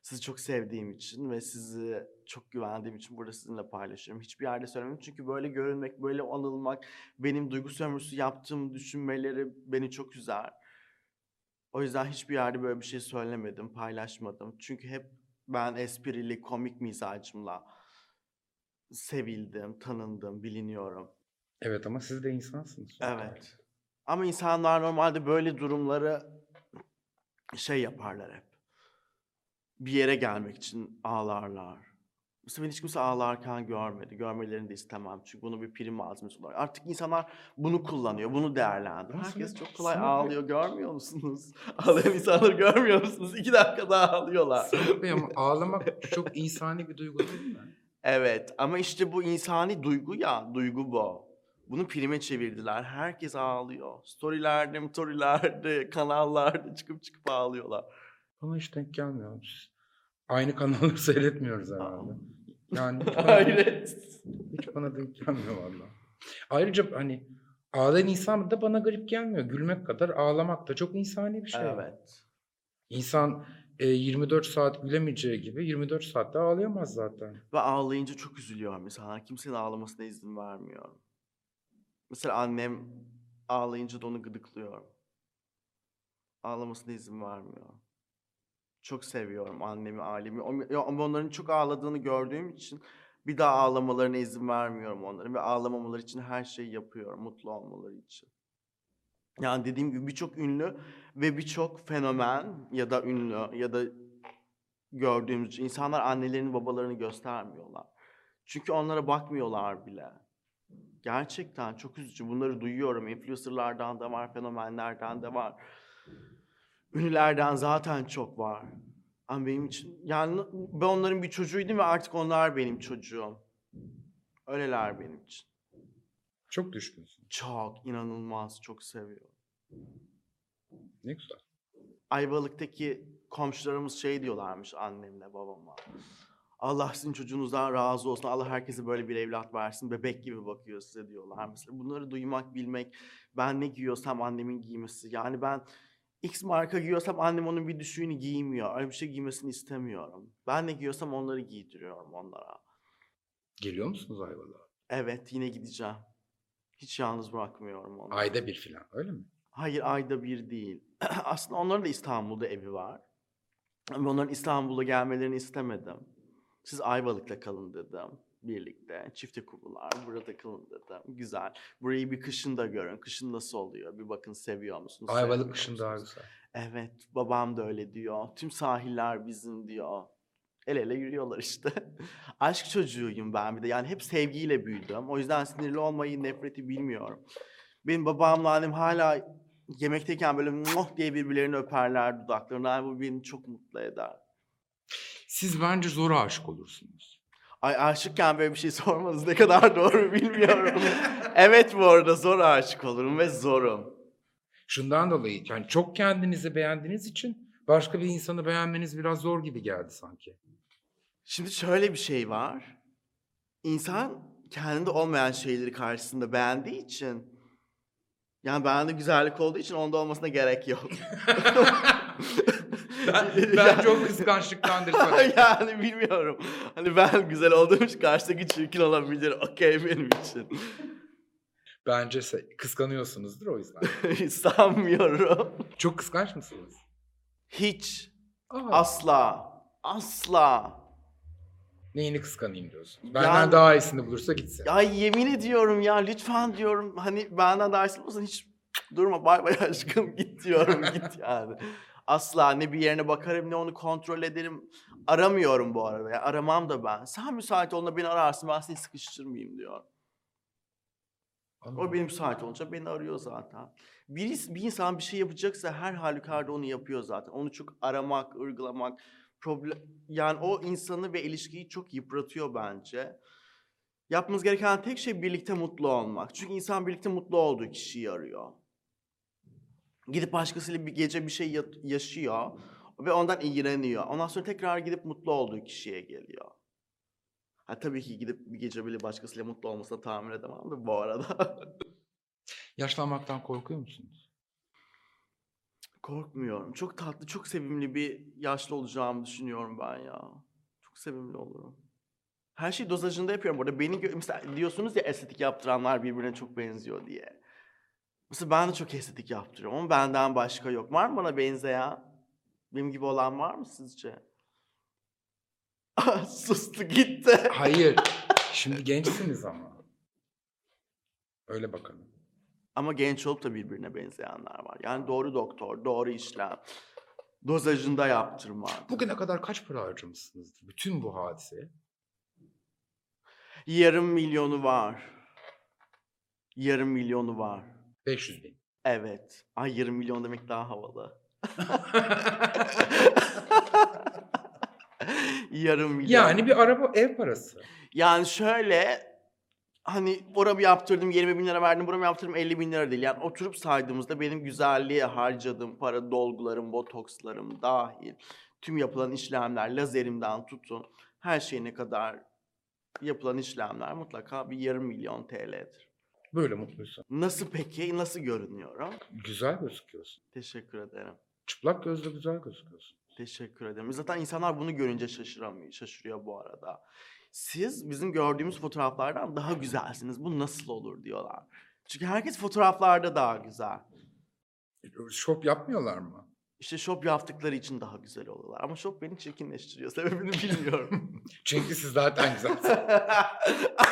[SPEAKER 1] Sizi çok sevdiğim için ve sizi çok güvendiğim için burada sizinle paylaşıyorum. Hiçbir yerde söylemedim çünkü böyle görünmek, böyle anılmak, benim duygu sömürüsü yaptığım düşünmeleri beni çok üzer. O yüzden hiçbir yerde böyle bir şey söylemedim, paylaşmadım. Çünkü hep ben esprili, komik mizacımla sevildim, tanındım, biliniyorum.
[SPEAKER 2] Evet ama siz de insansınız. sonuçta.
[SPEAKER 1] Evet. Ama insanlar normalde böyle durumları şey yaparlar hep. Bir yere gelmek için ağlarlar. Mesela beni hiç kimse ağlarken görmedi. Görmelerini de istemem. Çünkü bunu bir prim malzemesi olarak. Artık insanlar bunu kullanıyor, bunu değerlendiriyor.
[SPEAKER 2] Ama
[SPEAKER 1] Herkes
[SPEAKER 2] sana-
[SPEAKER 1] çok kolay
[SPEAKER 2] sana-
[SPEAKER 1] ağlıyor. Görmüyor musunuz? Ağlayan insanları görmüyor musunuz? İki dakikada ağlıyorlar.
[SPEAKER 2] Serap Bey ama ağlamak çok insani bir duygu değil mi?
[SPEAKER 1] Evet ama işte bu insani duygu ya, duygu bu. Bunu prime çevirdiler. Herkes ağlıyor. Storylerde, motorilerde, kanallarda çıkıp çıkıp ağlıyorlar.
[SPEAKER 2] Bana hiç denk gelmiyor. Biz Aynı kanalları seyretmiyoruz herhalde.
[SPEAKER 1] Aa.
[SPEAKER 2] Yani hiç bana,
[SPEAKER 1] Hayret.
[SPEAKER 2] hiç bana denk gelmiyor valla. Ayrıca hani ağlayan insan da bana garip gelmiyor. Gülmek kadar ağlamak da çok insani bir şey.
[SPEAKER 1] Evet.
[SPEAKER 2] İnsan e, 24 saat gülemeyeceği gibi 24 saat de ağlayamaz zaten.
[SPEAKER 1] Ve ağlayınca çok üzülüyorum mesela. Kimsenin ağlamasına izin vermiyorum. Mesela annem ağlayınca da onu gıdıklıyorum. Ağlamasına izin vermiyorum. Çok seviyorum annemi, ailemi. O- ya Ama onların çok ağladığını gördüğüm için bir daha ağlamalarına izin vermiyorum onların. Ve ağlamamaları için her şeyi yapıyorum, mutlu olmaları için. Yani dediğim gibi birçok ünlü ve birçok fenomen ya da ünlü ya da gördüğümüz insanlar annelerini babalarını göstermiyorlar. Çünkü onlara bakmıyorlar bile. Gerçekten çok üzücü. Bunları duyuyorum. Influencerlardan da var, fenomenlerden de var. Ünlülerden zaten çok var. Ama benim için... Yani ben onların bir çocuğuydum ve artık onlar benim çocuğum. Öyleler benim için.
[SPEAKER 2] Çok düşkünsün.
[SPEAKER 1] Çok, inanılmaz, çok seviyorum.
[SPEAKER 2] Ne güzel.
[SPEAKER 1] Ayvalık'taki komşularımız şey diyorlarmış annemle babama. Allah sizin çocuğunuzdan razı olsun. Allah herkese böyle bir evlat versin. Bebek gibi bakıyor size diyorlar. Mesela bunları duymak, bilmek. Ben ne giyiyorsam annemin giymesi. Yani ben X marka giyiyorsam annem onun bir düşüğünü giymiyor. Öyle bir şey giymesini istemiyorum. Ben ne giyiyorsam onları giydiriyorum onlara.
[SPEAKER 2] Geliyor musunuz Ayvalık'a?
[SPEAKER 1] Evet yine gideceğim. Hiç yalnız bırakmıyorum onları.
[SPEAKER 2] Ayda bir falan öyle mi?
[SPEAKER 1] Hayır ayda bir değil. Aslında onların da İstanbul'da evi var. Ama onların İstanbul'a gelmelerini istemedim. Siz Ayvalık'ta kalın dedim birlikte. Çifte kurular burada kalın dedim. Güzel. Burayı bir kışın da görün. Kışın nasıl oluyor? Bir bakın seviyor musunuz? sevmiyor
[SPEAKER 2] Ayvalık kışın daha
[SPEAKER 1] musunuz?
[SPEAKER 2] güzel.
[SPEAKER 1] Evet babam da öyle diyor. Tüm sahiller bizim diyor. El ele yürüyorlar işte. Aşk çocuğuyum ben bir de. Yani hep sevgiyle büyüdüm. O yüzden sinirli olmayı, nefreti bilmiyorum. Benim babamla annem hala yemekteyken böyle muh diye birbirlerini öperler dudaklarından. Bu beni çok mutlu eder.
[SPEAKER 2] Siz bence zora aşık olursunuz.
[SPEAKER 1] Ay aşıkken böyle bir şey sormanız ne kadar doğru bilmiyorum. evet bu arada zor aşık olurum ve zorum.
[SPEAKER 2] Şundan dolayı yani çok kendinizi beğendiğiniz için başka bir insanı beğenmeniz biraz zor gibi geldi sanki.
[SPEAKER 1] Şimdi şöyle bir şey var. İnsan kendinde olmayan şeyleri karşısında beğendiği için yani bende güzellik olduğu için onda olmasına gerek yok.
[SPEAKER 2] ben, bence o kıskançlıktandır.
[SPEAKER 1] yani bilmiyorum. Hani ben güzel olduğum için karşıdaki çirkin olabilir. Okey benim için.
[SPEAKER 2] bence se- kıskanıyorsunuzdur o yüzden.
[SPEAKER 1] Sanmıyorum.
[SPEAKER 2] Çok kıskanç mısınız?
[SPEAKER 1] Hiç.
[SPEAKER 2] Aa,
[SPEAKER 1] Asla. Asla.
[SPEAKER 2] neyini kıskanayım diyorsun. Benden
[SPEAKER 1] Yani-
[SPEAKER 2] daha iyisini bulursa gitsin.
[SPEAKER 1] Ya yemin ediyorum ya lütfen diyorum. Hani benden dersin olsun hiç durma bay bay aşkım git diyorum git yani. Asla ne bir yerine bakarım ne onu kontrol ederim. Aramıyorum bu arada. Yani aramam da ben. Sen müsait olduğunda beni ararsın ben seni sıkıştırmayayım diyor.
[SPEAKER 2] Aa,
[SPEAKER 1] O benim müsait olunca beni arıyor zaten. Bir, bir insan bir şey yapacaksa her halükarda onu yapıyor zaten. Onu çok aramak, ırgılamak, problem... Yani o insanı ve ilişkiyi çok yıpratıyor bence. Yapmanız gereken tek şey birlikte mutlu olmak. Çünkü insan birlikte mutlu olduğu kişiyi arıyor. Gidip başkasıyla bir gece bir şey yat- yaşıyor ve ondan iğreniyor. Ondan sonra tekrar gidip mutlu olduğu kişiye geliyor. Ha, tabii ki gidip bir gece bile başkasıyla mutlu olmasına tahammül edemem de bu arada.
[SPEAKER 2] Yaşlanmaktan korkuyor musunuz?
[SPEAKER 1] Korkmuyorum. Çok tatlı, çok sevimli bir yaşlı olacağımı düşünüyorum ben ya. Çok sevimli olurum. Her şeyi dozajında yapıyorum burada. Beni gö- mesela diyorsunuz ya estetik yaptıranlar birbirine çok benziyor diye. Mesela ben de çok estetik yaptırıyorum ama benden başka yok. Var mı bana benzeyen? Benim gibi olan var mı sizce? Ah, Sustu gitti.
[SPEAKER 2] Hayır. Şimdi gençsiniz ama. Öyle bakalım.
[SPEAKER 1] Ama genç olup da birbirine benzeyenler var. Yani doğru doktor, doğru işlem. Dozajında yaptırmak.
[SPEAKER 2] Bugüne kadar kaç para harcamışsınızdır bütün bu hadiseye?
[SPEAKER 1] Yarım milyonu var. Yarım milyonu var.
[SPEAKER 2] 500 bin.
[SPEAKER 1] Evet. Ay yarım milyon demek daha havalı. yarım milyon.
[SPEAKER 2] yani bir araba ev parası.
[SPEAKER 1] Yani şöyle hani oramı yaptırdım 20 bin lira verdim buramı yaptırdım 50 bin lira değil. Yani oturup saydığımızda benim güzelliğe harcadığım para dolgularım, botokslarım dahil tüm yapılan işlemler lazerimden tutun her şeyine kadar yapılan işlemler mutlaka bir yarım milyon TL'dir.
[SPEAKER 2] Böyle mutluysun.
[SPEAKER 1] Nasıl peki? Nasıl görünüyorum?
[SPEAKER 2] Güzel gözüküyorsun.
[SPEAKER 1] Teşekkür ederim.
[SPEAKER 2] Çıplak gözle güzel gözüküyorsun.
[SPEAKER 1] Teşekkür ederim. Zaten insanlar bunu görünce şaşıramıyor, şaşırıyor bu arada. Siz bizim gördüğümüz fotoğraflardan daha güzelsiniz. Bu nasıl olur diyorlar. Çünkü herkes fotoğraflarda daha güzel.
[SPEAKER 2] Şop yapmıyorlar mı?
[SPEAKER 1] İşte şop yaptıkları için daha güzel oluyorlar. Ama şop beni çirkinleştiriyor. Sebebini bilmiyorum.
[SPEAKER 2] Çünkü siz zaten güzelsiniz.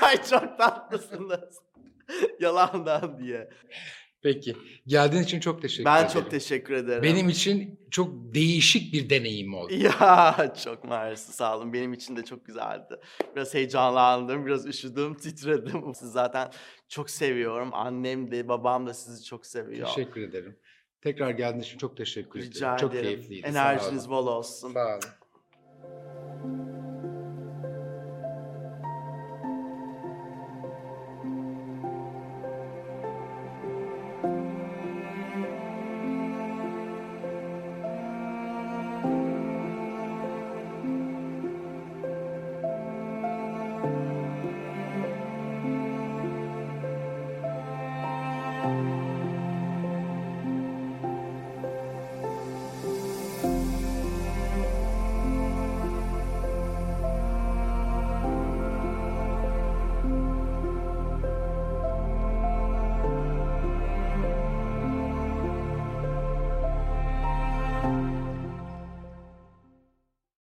[SPEAKER 1] Ay çok tatlısınız. Yalandan diye.
[SPEAKER 2] Peki. Geldiğin için çok teşekkür
[SPEAKER 1] ben
[SPEAKER 2] ederim.
[SPEAKER 1] çok teşekkür ederim.
[SPEAKER 2] Benim için çok değişik bir deneyim oldu.
[SPEAKER 1] Ya çok mersi sağ olun. Benim için de çok güzeldi. Biraz heyecanlandım, biraz üşüdüm, titredim. Sizi zaten çok seviyorum. Annem de babam da sizi çok seviyor.
[SPEAKER 2] Teşekkür ederim. Tekrar geldiğin için çok teşekkür ederim.
[SPEAKER 1] Rica
[SPEAKER 2] çok
[SPEAKER 1] ederim.
[SPEAKER 2] keyifliydi. Sağ
[SPEAKER 1] Enerjiniz
[SPEAKER 2] olun.
[SPEAKER 1] bol olsun.
[SPEAKER 2] Sağ olun.